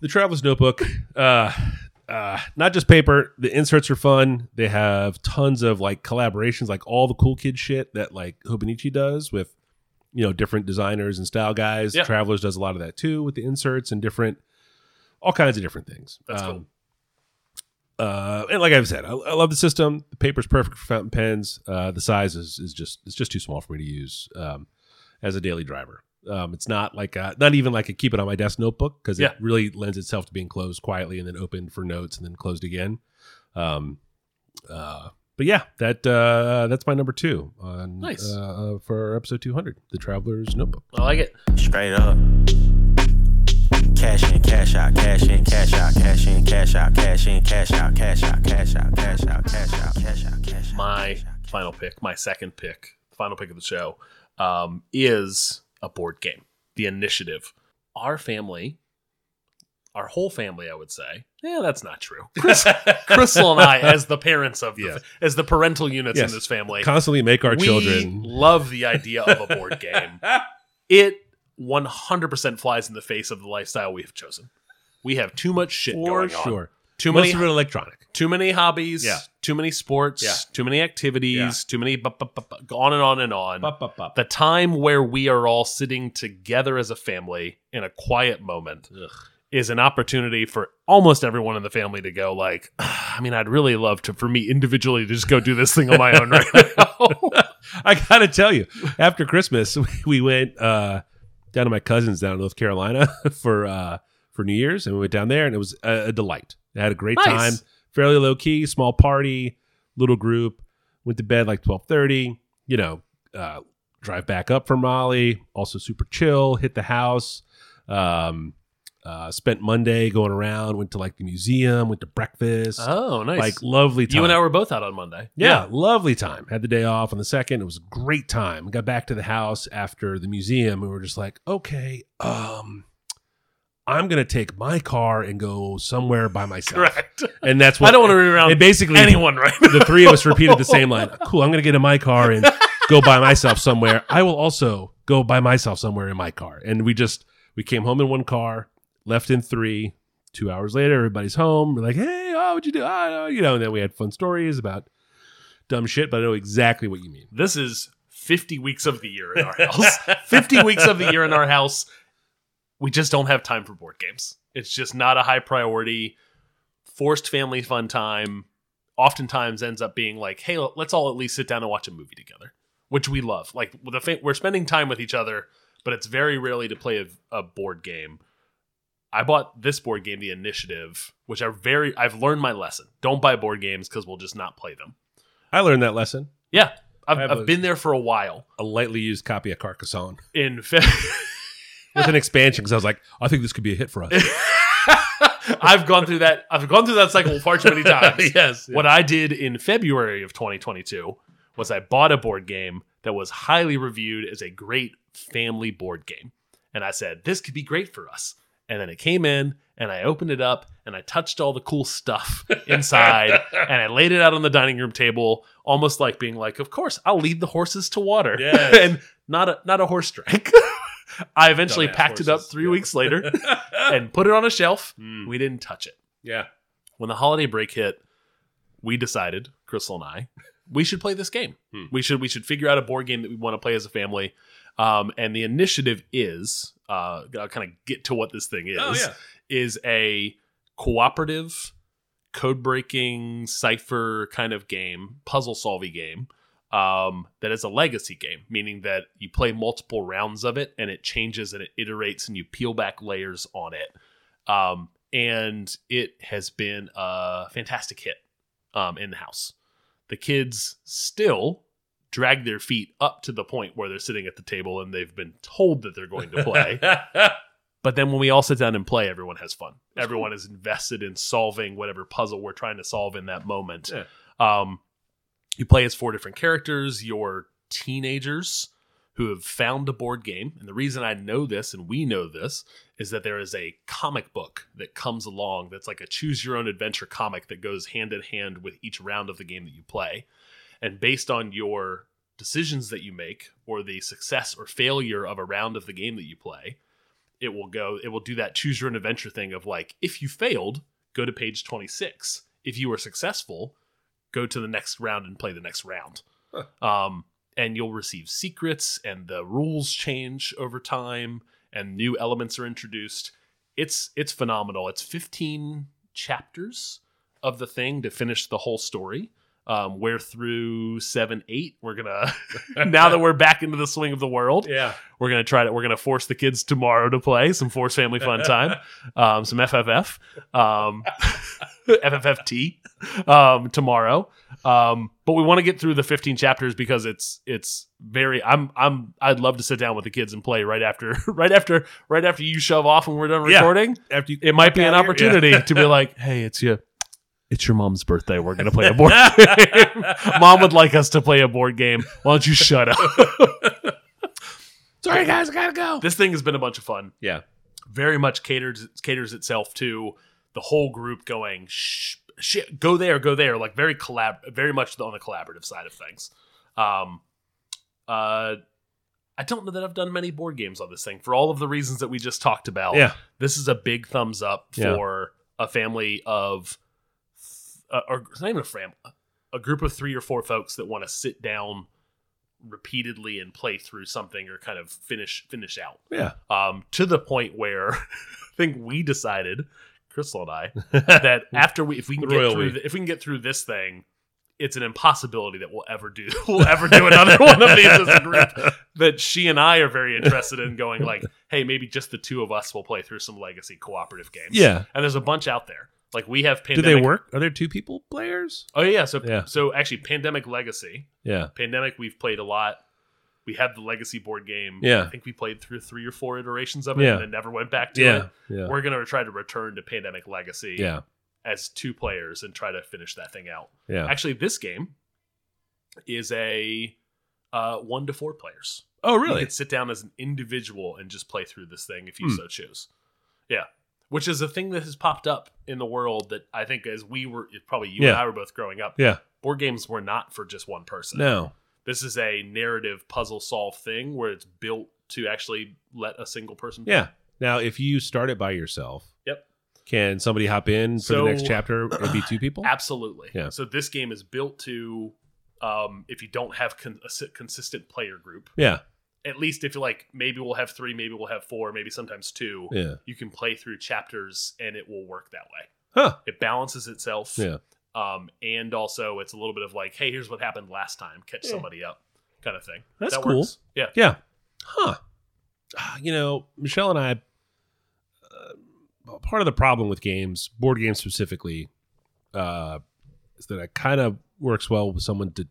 S1: the Traveler's Notebook. Uh uh, not just paper. The inserts are fun. They have tons of like collaborations, like all the cool kid shit that like Hobonichi does with, you know, different designers and style guys.
S2: Yeah.
S1: Travelers does a lot of that too with the inserts and different, all kinds of different things. Um,
S2: That's cool.
S1: Uh, and like I've said, I, I love the system. The paper's perfect for fountain pens. Uh, the size is, is just it's just too small for me to use um, as a daily driver. Um, it's not like a, not even like a keep it on my desk notebook because
S2: Yeah.
S1: it really lends itself to being closed quietly and then opened for notes and then closed again. Um, uh, but yeah, that uh, that's my number two on
S2: Nice.
S1: uh, uh, for episode two hundred, the Traveler's Notebook.
S2: I like it.
S5: Straight up. Cash in, cash out, cash in, cash out, cash in, cash out, cash in, cash out, cash out, cash out, cash out, cash out, cash out, cash out.
S2: My final pick, my second pick, final pick of the show, um, is a board game, The Initiative. Our family, our whole family, I would say. Yeah, that's not true.
S1: [laughs]
S2: Chris, Crystal and I, as the parents of the,
S1: Yeah.
S2: as the parental units
S1: Yes.
S2: in this family,
S1: Constantly make our
S2: we
S1: children.
S2: love the idea of a board
S1: [laughs]
S2: game. It 100% flies in the face of the lifestyle we have chosen. We have too much shit
S1: For
S2: going on.
S1: sure.
S2: Too
S1: Most
S2: many
S1: of it electronic.
S2: too many hobbies,
S1: Yeah.
S2: too many sports,
S1: Yeah.
S2: too many activities,
S1: Yeah.
S2: too many bu- bu- bu- bu- on and on and on.
S1: Bop, bop, bop.
S2: The time where we are all sitting together as a family in a quiet moment is an opportunity for almost everyone in the family to go like, [sighs] "Ah, I mean, I'd really love to for me individually to just go do this thing on my
S1: [laughs]
S2: own right now.
S1: I gotta tell you, after Christmas, [laughs] we, we went uh, down to my cousin's down in North Carolina [laughs] for uh, for New Year's, and we went down there, and it was a, a delight. I had a great
S2: Nice.
S1: time, fairly low key, small party, little group. Went to bed like twelve thirty. You know, uh, drive back up from Raleigh, also super chill. Hit the house. Um, uh, spent Monday going around. Went to like the museum. Went to breakfast.
S2: oh, nice.
S1: Like lovely time.
S2: you and I were both out on Monday.
S1: Yeah, lovely time. Had the day off on the second. It was a great time. We got back to the house after the museum. and We were just like, okay, um, I'm gonna take my car and go somewhere by
S2: [laughs]
S1: myself.
S2: Correct.
S1: And that's what
S2: I don't want to be around
S1: and basically
S2: anyone right
S1: the three of us repeated the same line. Cool, I'm gonna get in my car and go by myself somewhere. I will also go by myself somewhere in my car. And we just we came home in one car, left in three. Two hours later, everybody's home. We're like, hey, oh, what'd you do? Oh, you know. And then we had fun stories about dumb shit, but I know exactly what you mean.
S2: this is 50 weeks of the year in our
S1: [laughs]
S2: house 50 weeks of the year in our house we just don't have time for board games it's just not a high priority forced family fun time oftentimes ends up being like hey let's all at least sit down and watch a movie together which we love like the fa- we're spending time with each other but it's very rarely to play a, a board game i bought this board game the initiative which i very i've learned my lesson don't buy board games because we'll just not play them
S1: I learned that lesson.
S2: yeah I've,
S1: I have
S2: I've
S1: a-
S2: been there for a while
S1: A lightly used copy of Carcassonne
S2: in Fe- [laughs]
S1: with an expansion because I was like, I think this could be a hit for us.
S2: I've gone through that. I've gone through that cycle far
S1: [laughs]
S2: too many times.
S1: yes.
S2: What I did in February of 2022 was I bought a board game that was highly reviewed as a great family board game, and I said this could be great for us. And then it came in, and I opened it up, and I touched all the
S1: [laughs]
S2: cool stuff inside, and I laid it out on the dining room table, almost like being like, "Of course, I'll lead the horses to water,"
S1: Yes.
S2: [laughs] and not a not a horse
S1: [laughs]
S2: drink. I eventually
S1: Dumbass
S2: packed it up
S1: horses.
S2: three
S1: Yeah. [laughs]
S2: weeks later and put it on a shelf.
S1: Mm.
S2: We didn't touch it.
S1: yeah.
S2: When the holiday break hit, we decided, Crystal and I, we should play this game.
S1: Hmm.
S2: We should we should figure out a board game that we want to play as a family. Um, and the initiative is uh, I'll kind of get to what this thing is.
S1: Oh, yeah.
S2: Is a cooperative code breaking cipher kind of game, puzzle solving game. Um, that is a legacy game, meaning that you play multiple rounds of it and it changes and it iterates and you peel back layers on it um, and it has been a fantastic hit um, in the house. The kids still drag their feet up to the point where they're sitting at the table and they've been told that they're
S1: [laughs]
S2: going to play. but then when we all sit down and play, everyone has fun. everyone is invested in solving whatever puzzle we're trying to solve in that moment.
S1: Yeah.
S2: Um, you play as four different characters. Your teenagers who have found a board game, and the reason I know this and we know this is that there is a comic book that comes along that's like a choose your own adventure comic that goes hand in hand with each round of the game that you play. And based on your decisions that you make or the success or failure of a round of the game that you play, it will go it will do that choose your own adventure thing of like if you failed, go to page 26. If you were successful, go to the next round and play the next round. Um and you'll receive secrets and the rules change over time and new elements are introduced. It's it's phenomenal. It's 15 chapters of the thing to finish the whole story. Um, we're through seven, eight. We're gonna [laughs] now that we're back into the swing of the world,
S1: Yeah.
S2: we're gonna try to we're gonna force the kids tomorrow to play some force family fun time,
S1: [laughs]
S2: um, some FFF, um, [laughs] FFFT um, tomorrow. Um, but we want to get through the 15 chapters because it's it's very I'm I'm I'd love to sit down with the kids and play right after [laughs] right after right after you shove off when we're done
S1: Yeah.
S2: recording.
S1: After you [laughs]
S2: It might be an
S1: Out here?
S2: opportunity to be
S1: [laughs]
S2: like, hey, it's your it's your mom's birthday. We're gonna play a board. [laughs] game. Mom would like us to play a board game. Why don't you shut up?
S1: Sorry guys, I gotta go.
S2: this thing has been a bunch of fun.
S1: Yeah.
S2: Very much caters caters itself to the whole group going shh, shit, go there, go there. Like very collab, very much on the collaborative side of things. Um, uh, I don't know that I've done many board games on this thing for all of the reasons that we just talked about.
S1: Yeah.
S2: this is a big thumbs up
S1: Yeah.
S2: for a family of, uh, or it's not even a family, a group of three or four folks that want to sit down repeatedly and play through something or kind of finish finish out
S1: Yeah.
S2: um, to the point where [laughs] I think we decided, Crystal and
S1: [laughs]
S2: I, that after we if we can
S1: The royal
S2: get through
S1: we.
S2: th- if we can get through this thing, it's an impossibility that we'll ever do [laughs] we'll ever
S1: [laughs]
S2: do another one of these as a group. That she and I are very interested in going like, hey, maybe just the two of us will play through some legacy cooperative games.
S1: Yeah.
S2: and there's a bunch out there. Like we have
S1: Do
S2: pandemic.
S1: they work? Are there two people players?
S2: Oh yeah, so
S1: Yeah.
S2: so actually, pandemic legacy,
S1: Yeah.
S2: pandemic we've played a lot. We have the legacy board game.
S1: Yeah.
S2: I think we played through three or four iterations of it
S1: Yeah.
S2: and then never went back to it
S1: Yeah. Yeah.
S2: we're gonna try to return to Pandemic Legacy
S1: Yeah.
S2: as two players and try to finish that thing out.
S1: Yeah.
S2: Actually, this game is a uh, one to four players.
S1: Oh
S2: You could sit down as an individual and just play through this thing if you
S1: Hmm.
S2: so choose. which is a thing that has popped up in the world that I think as we were probably you and
S1: Yeah.
S2: I were both growing up,
S1: Yeah.
S2: board games were not for just one person.
S1: No.
S2: This is a narrative puzzle solve thing where it's built to actually let a single person.
S1: Yeah. Now, if you start it by yourself,
S2: Yep.
S1: can somebody hop in for
S2: So-
S1: the next chapter and be two people?
S2: Absolutely.
S1: Yeah.
S2: So this game is built to, um, if you don't have con- a si- consistent player group,
S1: yeah.
S2: at least if you're like maybe we'll have three, maybe we'll have four, maybe sometimes two.
S1: Yeah.
S2: You can play through chapters and it will work that way.
S1: Huh.
S2: It balances itself.
S1: Yeah.
S2: Um, and also it's a little bit of like, hey, here's what happened last time, catch somebody up, kind of thing.
S1: That's cool.
S2: Yeah.
S1: Yeah. Huh. Ah, You know, Michelle and I, uh, part of the problem with games, board games specifically, uh, is that it kind of works well with someone to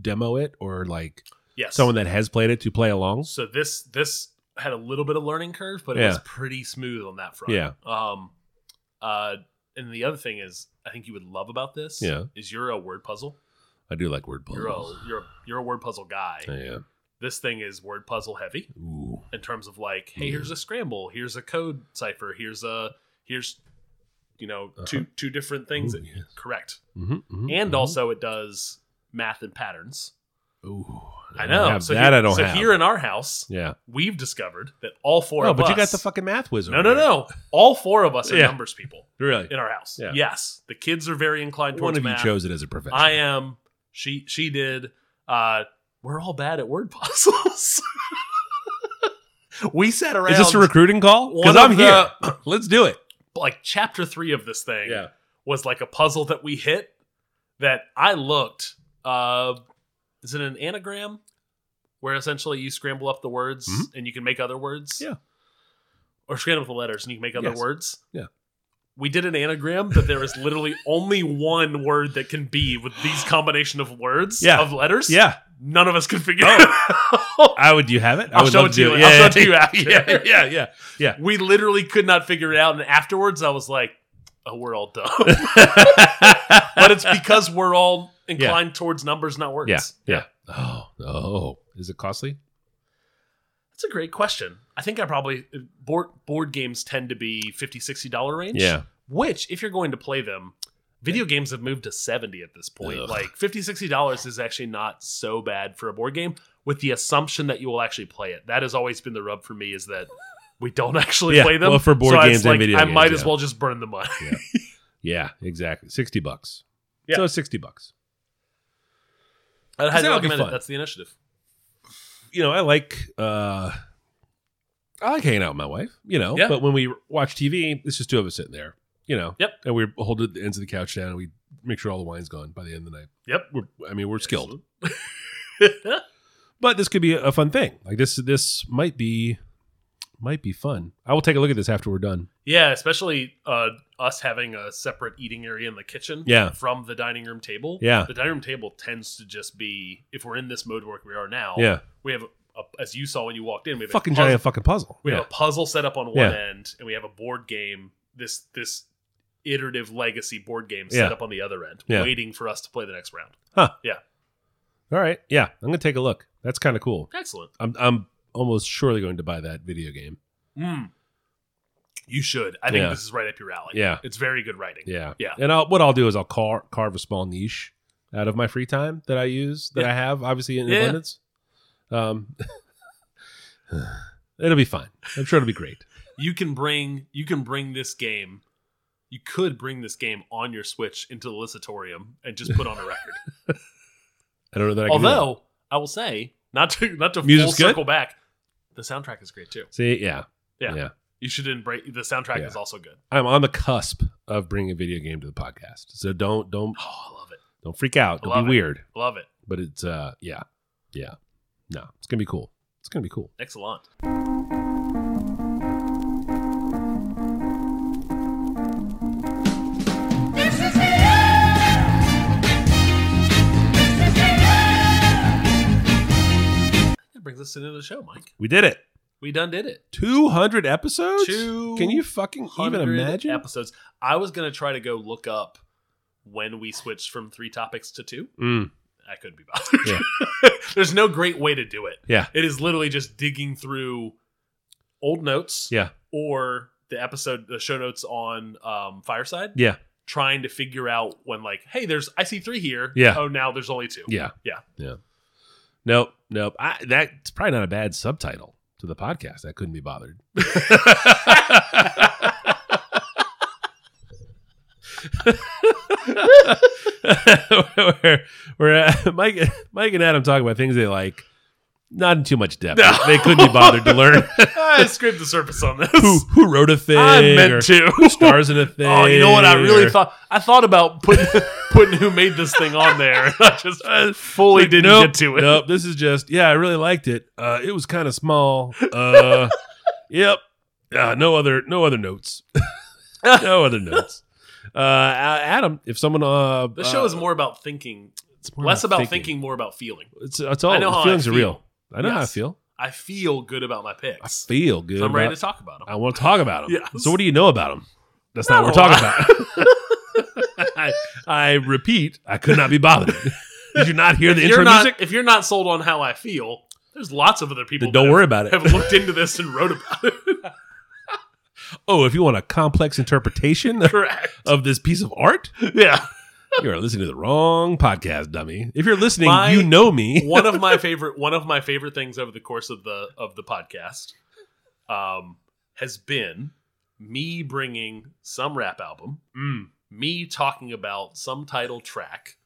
S1: demo it or like
S2: Yes.
S1: someone that has played it to play along.
S2: So this this had a little bit of learning curve, but it was
S1: Yeah.
S2: pretty smooth on that front.
S1: Yeah.
S2: Um. Uh. And the other thing is, I think you would love about this.
S1: Yeah.
S2: Is you're a word puzzle.
S1: I do like word
S2: You're a
S1: puzzles.
S2: you're a, you're a word puzzle guy.
S1: Yeah.
S2: This thing is word puzzle heavy
S1: Ooh.
S2: in terms of like, hey, here's a scramble, here's a code cipher, here's a here's you know two two different things.
S1: Uh-huh. Ooh,
S2: that-
S1: yes.
S2: Correct.
S1: Mhm, mhm,
S2: And
S1: mhm.
S2: also, it does math and patterns.
S1: Ooh.
S2: I
S1: don't
S2: know.
S1: have
S2: so
S1: that
S2: here,
S1: I don't
S2: so
S1: have.
S2: here in our house,
S1: yeah.
S2: we've discovered that all four
S1: No,
S2: of
S1: but
S2: us.
S1: you got the fucking math wizard.
S2: No, no, no. All four of us are
S1: Yeah.
S2: numbers people
S1: Really?
S2: in our house.
S1: Yeah.
S2: Yes, the kids are very inclined
S1: One
S2: towards
S1: of you
S2: math.
S1: chose it as a profession.
S2: I am. She she did. Uh, we're all bad at word puzzles. [laughs] we sat around.
S1: Is this a recruiting call? Because
S2: One of
S1: I'm here. [clears throat] Let's do it.
S2: like chapter three of this thing was like a puzzle that we hit that I looked. Uh, is it an anagram where essentially you scramble up the words
S1: Mhm.
S2: and you can make other words?
S1: Yeah.
S2: Or scramble up the letters and you can make other
S1: Yes.
S2: words?
S1: Yeah.
S2: We did an anagram, but there
S1: [laughs]
S2: is literally only one word that can be with these combination of words
S1: Yeah.
S2: of letters.
S1: Yeah. Oh,
S2: None of us could figure it out.
S1: I would. You have it. I
S2: I'll
S1: would
S2: show
S1: love
S2: it to you.
S1: Yeah,
S2: I'll show
S1: yeah,
S2: it to you after.
S1: [laughs] Yeah, yeah, yeah.
S2: We literally could not figure it out. And afterwards, I was like, oh, we're all dumb.
S1: [laughs]
S2: [laughs] but it's because we're all inclined towards numbers, not words.
S1: yeah, yeah. Oh, oh. Is it costly?
S2: That's a great question. I think I probably board board games tend to be 50 60 dollar range.
S1: Yeah.
S2: Which if you're going to play them, video games have moved to 70 at this point.
S1: Ugh.
S2: Like 50 60 dollars is actually not so bad for a board game with the assumption that you will actually play it. That has always been the rub for me is that we don't [laughs] actually
S1: Yeah,
S2: play them.
S1: well, for board
S2: so it's
S1: games and
S2: like,
S1: video
S2: I
S1: games,
S2: might as
S1: yeah.
S2: well just burn the money.
S1: Yeah, exactly. Sixty bucks.
S2: Yeah.
S1: So it's sixty bucks.
S2: [laughs] I'd highly
S1: that'll be
S2: recommend it.
S1: fun.
S2: That's the initiative.
S1: You know, I like. uh I like hanging out with my wife. You know,
S2: Yeah.
S1: but when we watch TV, it's just two of us sitting there. You know.
S2: Yep.
S1: And we hold the ends of the couch down, and we make sure all the wine's gone by the end of the night.
S2: Yep.
S1: We're, I mean, we're skilled.
S2: [laughs]
S1: but this could be a fun thing. Like this, this might be, might be fun. I will take a look at this after we're done.
S2: Yeah, especially uh, us having a separate eating area in the kitchen
S1: Yeah.
S2: from the dining room table.
S1: Yeah.
S2: The dining room table tends to just be, if we're in this mode work we are now,
S1: Yeah,
S2: we have, a, as you saw when you walked in, we have
S1: fucking
S2: Oh, a puzzle,
S1: giant fucking puzzle.
S2: we
S1: yeah.
S2: have a puzzle set up on one
S1: Yeah.
S2: end, and we have a board game, this this iterative legacy board game
S1: Yeah.
S2: set up on the other end,
S1: Yeah.
S2: waiting for us to play the next round.
S1: All right, yeah, I'm gonna take a look. That's kind of cool.
S2: Excellent.
S1: I'm I'm almost surely going to buy that video game.
S2: Mm. You should. I think
S1: Yeah.
S2: this is right up your alley.
S1: Yeah.
S2: It's very good writing.
S1: Yeah,
S2: Yeah.
S1: And I'll, what I'll do is I'll car, carve a small niche out of my free time that I use that I have obviously in
S2: Yeah.
S1: abundance. Um, [sighs] it'll be fine. I'm sure it'll be great.
S2: you can bring you can bring this game you could bring this game on your switch into the listatorium and just put on a
S1: [laughs]
S2: record
S1: I don't know that I can do that.
S2: although i will say not to not to
S1: Music's
S2: full
S1: good?
S2: circle back the soundtrack is great too
S1: see, yeah,
S2: Yeah.
S1: yeah.
S2: you should embrace the soundtrack
S1: Yeah.
S2: is also good
S1: I'm on the cusp of bringing a video game to the podcast. So don't don't
S2: oh i love it
S1: don't freak out.
S2: I
S1: It'll
S2: love
S1: be
S2: it.
S1: weird,
S2: love it
S1: but it's uh yeah. Yeah. No, it's going to be cool. It's going to be cool.
S2: excellent
S7: This is the end. This is the end.
S2: that brings us to the end of the show mike
S1: We did it.
S2: we done did it
S1: 200 episodes?
S2: Two
S1: Can you fucking even
S2: 100
S1: imagine?
S2: episodes i was gonna try to go look up when we switched from three topics to two
S1: Mm,
S2: I couldn't be bothered. [laughs] There's no great way to do it.
S1: Yeah.
S2: It is literally just digging through old notes
S1: yeah.
S2: or the episode, the show notes on um, Fireside,
S1: Yeah.
S2: trying to figure out when, like, hey, there's I see three here.
S1: Yeah.
S2: Oh, now there's only two.
S1: Yeah.
S2: Yeah.
S1: Yeah. Nope. Nope. I, that's probably not a bad subtitle to the podcast. I couldn't be
S2: [laughs]
S1: bothered. where where uh, Mike, Mike and Adam talk about things they like, not in too much depth.
S2: No.
S1: They couldn't be bothered to
S2: [laughs]
S1: learn
S2: [laughs] I scraped the surface on this.
S1: who, who wrote a thing.
S2: I
S1: or
S2: meant to. [laughs]
S1: Stars in a thing.
S2: Oh, you know what? I really
S1: or-
S2: thought I thought about putting [laughs] putting who made this thing on there. [laughs] and I just
S1: Uh,
S2: fully
S1: Like,
S2: didn't
S1: nope,
S2: get to it.
S1: Nope. This is just yeah. I really liked it. Uh, it was kind of small.
S2: [laughs]
S1: Uh, yep. Uh, no other no other notes. no other notes. Uh, A- Adam, if someone uh,
S2: This show
S1: uh,
S2: is more about thinking,
S1: it's more
S2: less about thinking. more about feeling.
S1: It's it's all
S2: I know how I
S1: feelings are
S2: feel.
S1: real. I know how I
S2: Yes.
S1: feel.
S2: I feel good about my
S1: I
S2: picks.
S1: feel good.
S2: so I'm ready
S1: about-
S2: to talk about
S1: I
S2: them.
S1: want to talk about them.
S2: Yes.
S1: So what do you know about them? That's not, what we're
S2: Not a
S1: talking about. [laughs] I, I repeat, I could not be bothered. Did you not hear the
S2: If
S1: intro
S2: you're not
S1: music?
S2: if you're not sold on how I feel, there's lots of other people.
S1: Then don't
S2: that
S1: worry
S2: have-
S1: about it.
S2: [laughs] Have looked into this and wrote about it. [laughs]
S1: Oh, if you want a complex interpretation of-
S2: Correct.
S1: of this piece of art, [laughs]
S2: Yeah.
S1: You are listening to the wrong podcast, dummy. If you're listening,
S2: My-
S1: you know
S2: [laughs]
S1: me.
S2: one of my favorite one of my favorite things over the course of the of the podcast um has been me bringing some rap album
S1: Mm.
S2: me talking about some title track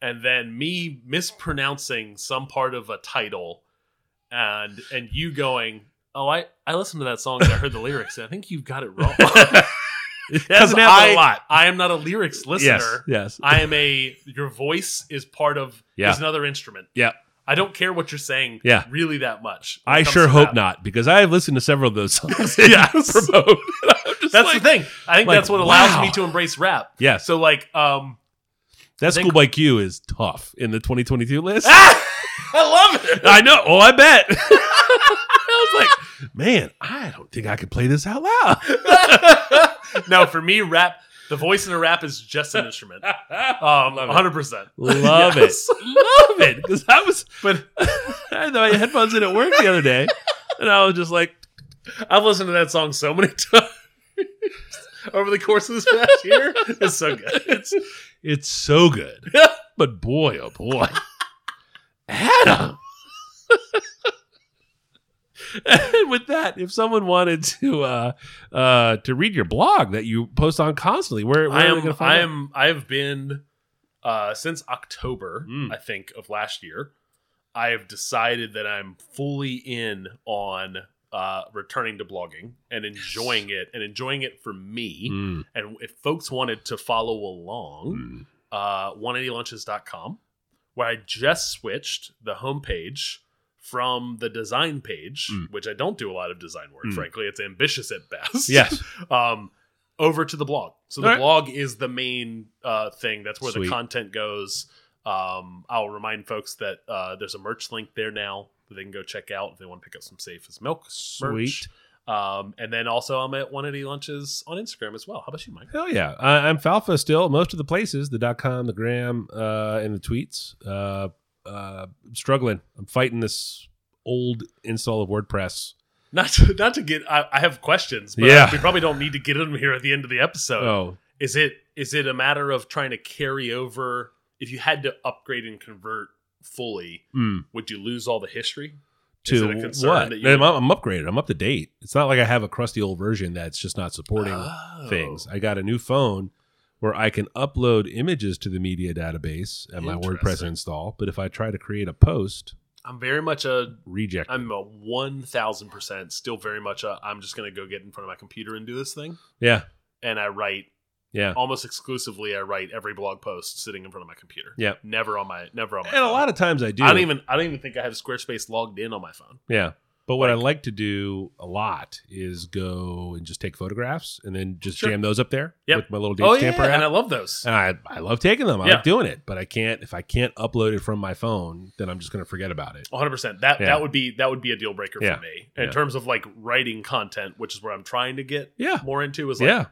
S2: and then me mispronouncing some part of a title and and you going oh i i listened to that song and i heard the lyrics and i think you've got
S1: [laughs]
S2: it wrong [laughs]
S1: It [laughs]
S2: Because
S1: hasn't happened
S2: I-
S1: a lot.
S2: i am not a lyrics listener
S1: Yes. yes.
S2: I am a your voice is part of
S1: Yeah.
S2: is another instrument.
S1: Yeah.
S2: I don't care what you're saying
S1: Yeah.
S2: really that much. when it
S1: I
S2: comes
S1: sure
S2: to
S1: hope
S2: that.
S1: not, because I have listened to several of those
S2: [laughs]
S1: songs. [laughs]
S2: Yes.
S1: Promote. I'm just
S2: That's
S1: like-
S2: the thing. I think
S1: like,
S2: that's what allows
S1: wow.
S2: me to embrace rap.
S1: Yes.
S2: So like um
S1: That
S2: think- Ah!
S1: Schoolboy Q is tough in the 2022 list.
S2: I love it.
S1: I know. Oh, I bet. [laughs] I was like, man, I don't think I could play this out loud.
S2: [laughs] no, for me rap the voice in a rap is just an instrument. [laughs] Um 100%.
S1: [laughs] Love
S2: Yes.
S1: it. Love it. Because I was,
S2: But
S1: [laughs] I had my headphones in at work the other day, and I was just like,
S2: I've listened to that song so many [laughs] times over the course of this past year. It's so good. It's
S1: It's so good. [laughs] but boy, oh boy. Adam. [laughs] and with that, if someone wanted to uh uh to read your blog that you post on constantly, where, where
S2: I
S1: are they
S2: am.
S1: gonna find
S2: I
S1: that?
S2: am. I've been uh, since October,
S1: Mm.
S2: I think, of last year. I have decided that I'm fully in on uh, returning to blogging and enjoying it, and enjoying it for me.
S1: Mm,
S2: And if folks wanted to follow
S1: mm.
S2: along, uh, 180lunches.com, where I just switched the homepage from the design page,
S1: Mm.
S2: which I don't do a lot of design work.
S1: Mm.
S2: Frankly, it's ambitious at best
S1: Yes.
S2: um, over to the blog. So the
S1: All right.
S2: blog is the main uh, thing. That's where
S1: Sweet.
S2: the content goes. Um, I'll remind folks that uh, there's a merch link there now that they can go check out if they want to pick up some Safe as Milk merch.
S1: Sweet.
S2: Um, and then also I'm at 180 Lunches on Instagram as well. How about you, Mike?
S1: [laughs]
S2: [laughs]
S1: Hell yeah. I, I'm Falfa still. Most of the places, the dot com, the gram, uh, and the tweets. Uh uh I'm struggling. I'm fighting this old install of WordPress.
S2: Not to, not to get, I, I have questions, but
S1: Yeah.
S2: we probably don't need to get them here at the end of the episode.
S1: Oh.
S2: Is it is it a matter of trying to carry over? If you had to upgrade and convert fully,
S1: Mm.
S2: would you lose all the history? Is
S1: to
S2: it a concern
S1: what?
S2: that you-
S1: I'm, I'm upgraded. I'm up to date. It's not like I have a crusty old version that's just not supporting
S2: Oh.
S1: things. I got a new phone where I can upload images to the media database at my WordPress
S2: Interesting.
S1: install. But if I try to create a post,
S2: I'm very much a
S1: reject.
S2: I'm a one thousand percent still very much a I'm just gonna go get in front of my computer and do this thing.
S1: yeah,
S2: And I write
S1: yeah.
S2: almost exclusively I write every blog post sitting in front of my computer.
S1: Yeah.
S2: Never on my never on my
S1: And a lot of times I do.
S2: I don't even I don't even think I have Squarespace logged in on my phone.
S1: Yeah. But what I like to do a lot is go and just take photographs and then just
S2: Sure.
S1: jam those up there
S2: Yep.
S1: with my little date
S2: Oh yeah,
S1: stamper app.
S2: and I love those.
S1: And I, I love taking them. I
S2: Yeah.
S1: like doing it, but I can't if I can't upload it from my phone, then I'm just going to forget about it.
S2: 100%. That
S1: Yeah.
S2: that would be that would be a deal breaker
S1: Yeah.
S2: for me in
S1: Yeah.
S2: terms of like writing content, which is where I'm trying to get
S1: Yeah.
S2: more into is like
S1: yeah.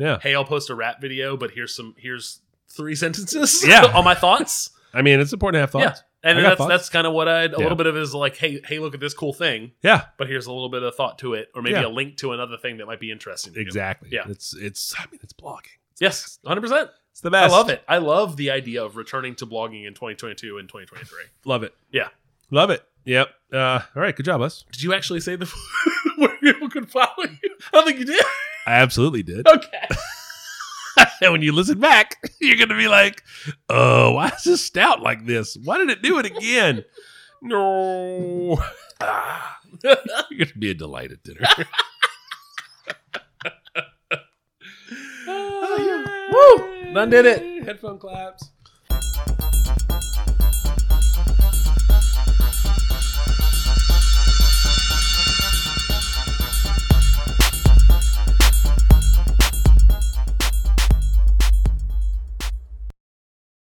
S1: Yeah.
S2: hey, I'll post a rap video, but here's some here's three [laughs] sentences
S1: Yeah.
S2: on my thoughts.
S1: I mean, it's important to have thoughts.
S2: and
S1: I
S2: that's
S1: got thoughts.
S2: that's kind of what I a
S1: Yeah.
S2: little bit of is like, hey, hey, look at this cool thing,
S1: Yeah,
S2: but here's a little bit of thought to it, or maybe
S1: Yeah.
S2: a link to another thing that might be interesting. to you.
S1: exactly.
S2: Yeah.
S1: it's it's. I mean, it's blogging.
S2: Yes, hundred percent.
S1: It's the
S2: I
S1: best.
S2: love it. I love the idea of returning to blogging in 2022 and 2023.
S1: Love it.
S2: Yeah.
S1: love it. Yep. Uh, all right. Good job, us.
S2: Did you actually say the [laughs] where people could follow you? I don't think you did. [laughs]
S1: I absolutely [laughs] did.
S2: Okay.
S1: and when you listen back, [laughs] you're going to be like, "Oh, why is this stout like this? Why did it do it again?" [laughs] no. [laughs] Ah. you're going to be a delight at [laughs] dinner.
S2: Woo! Done did it.
S1: Headphone claps.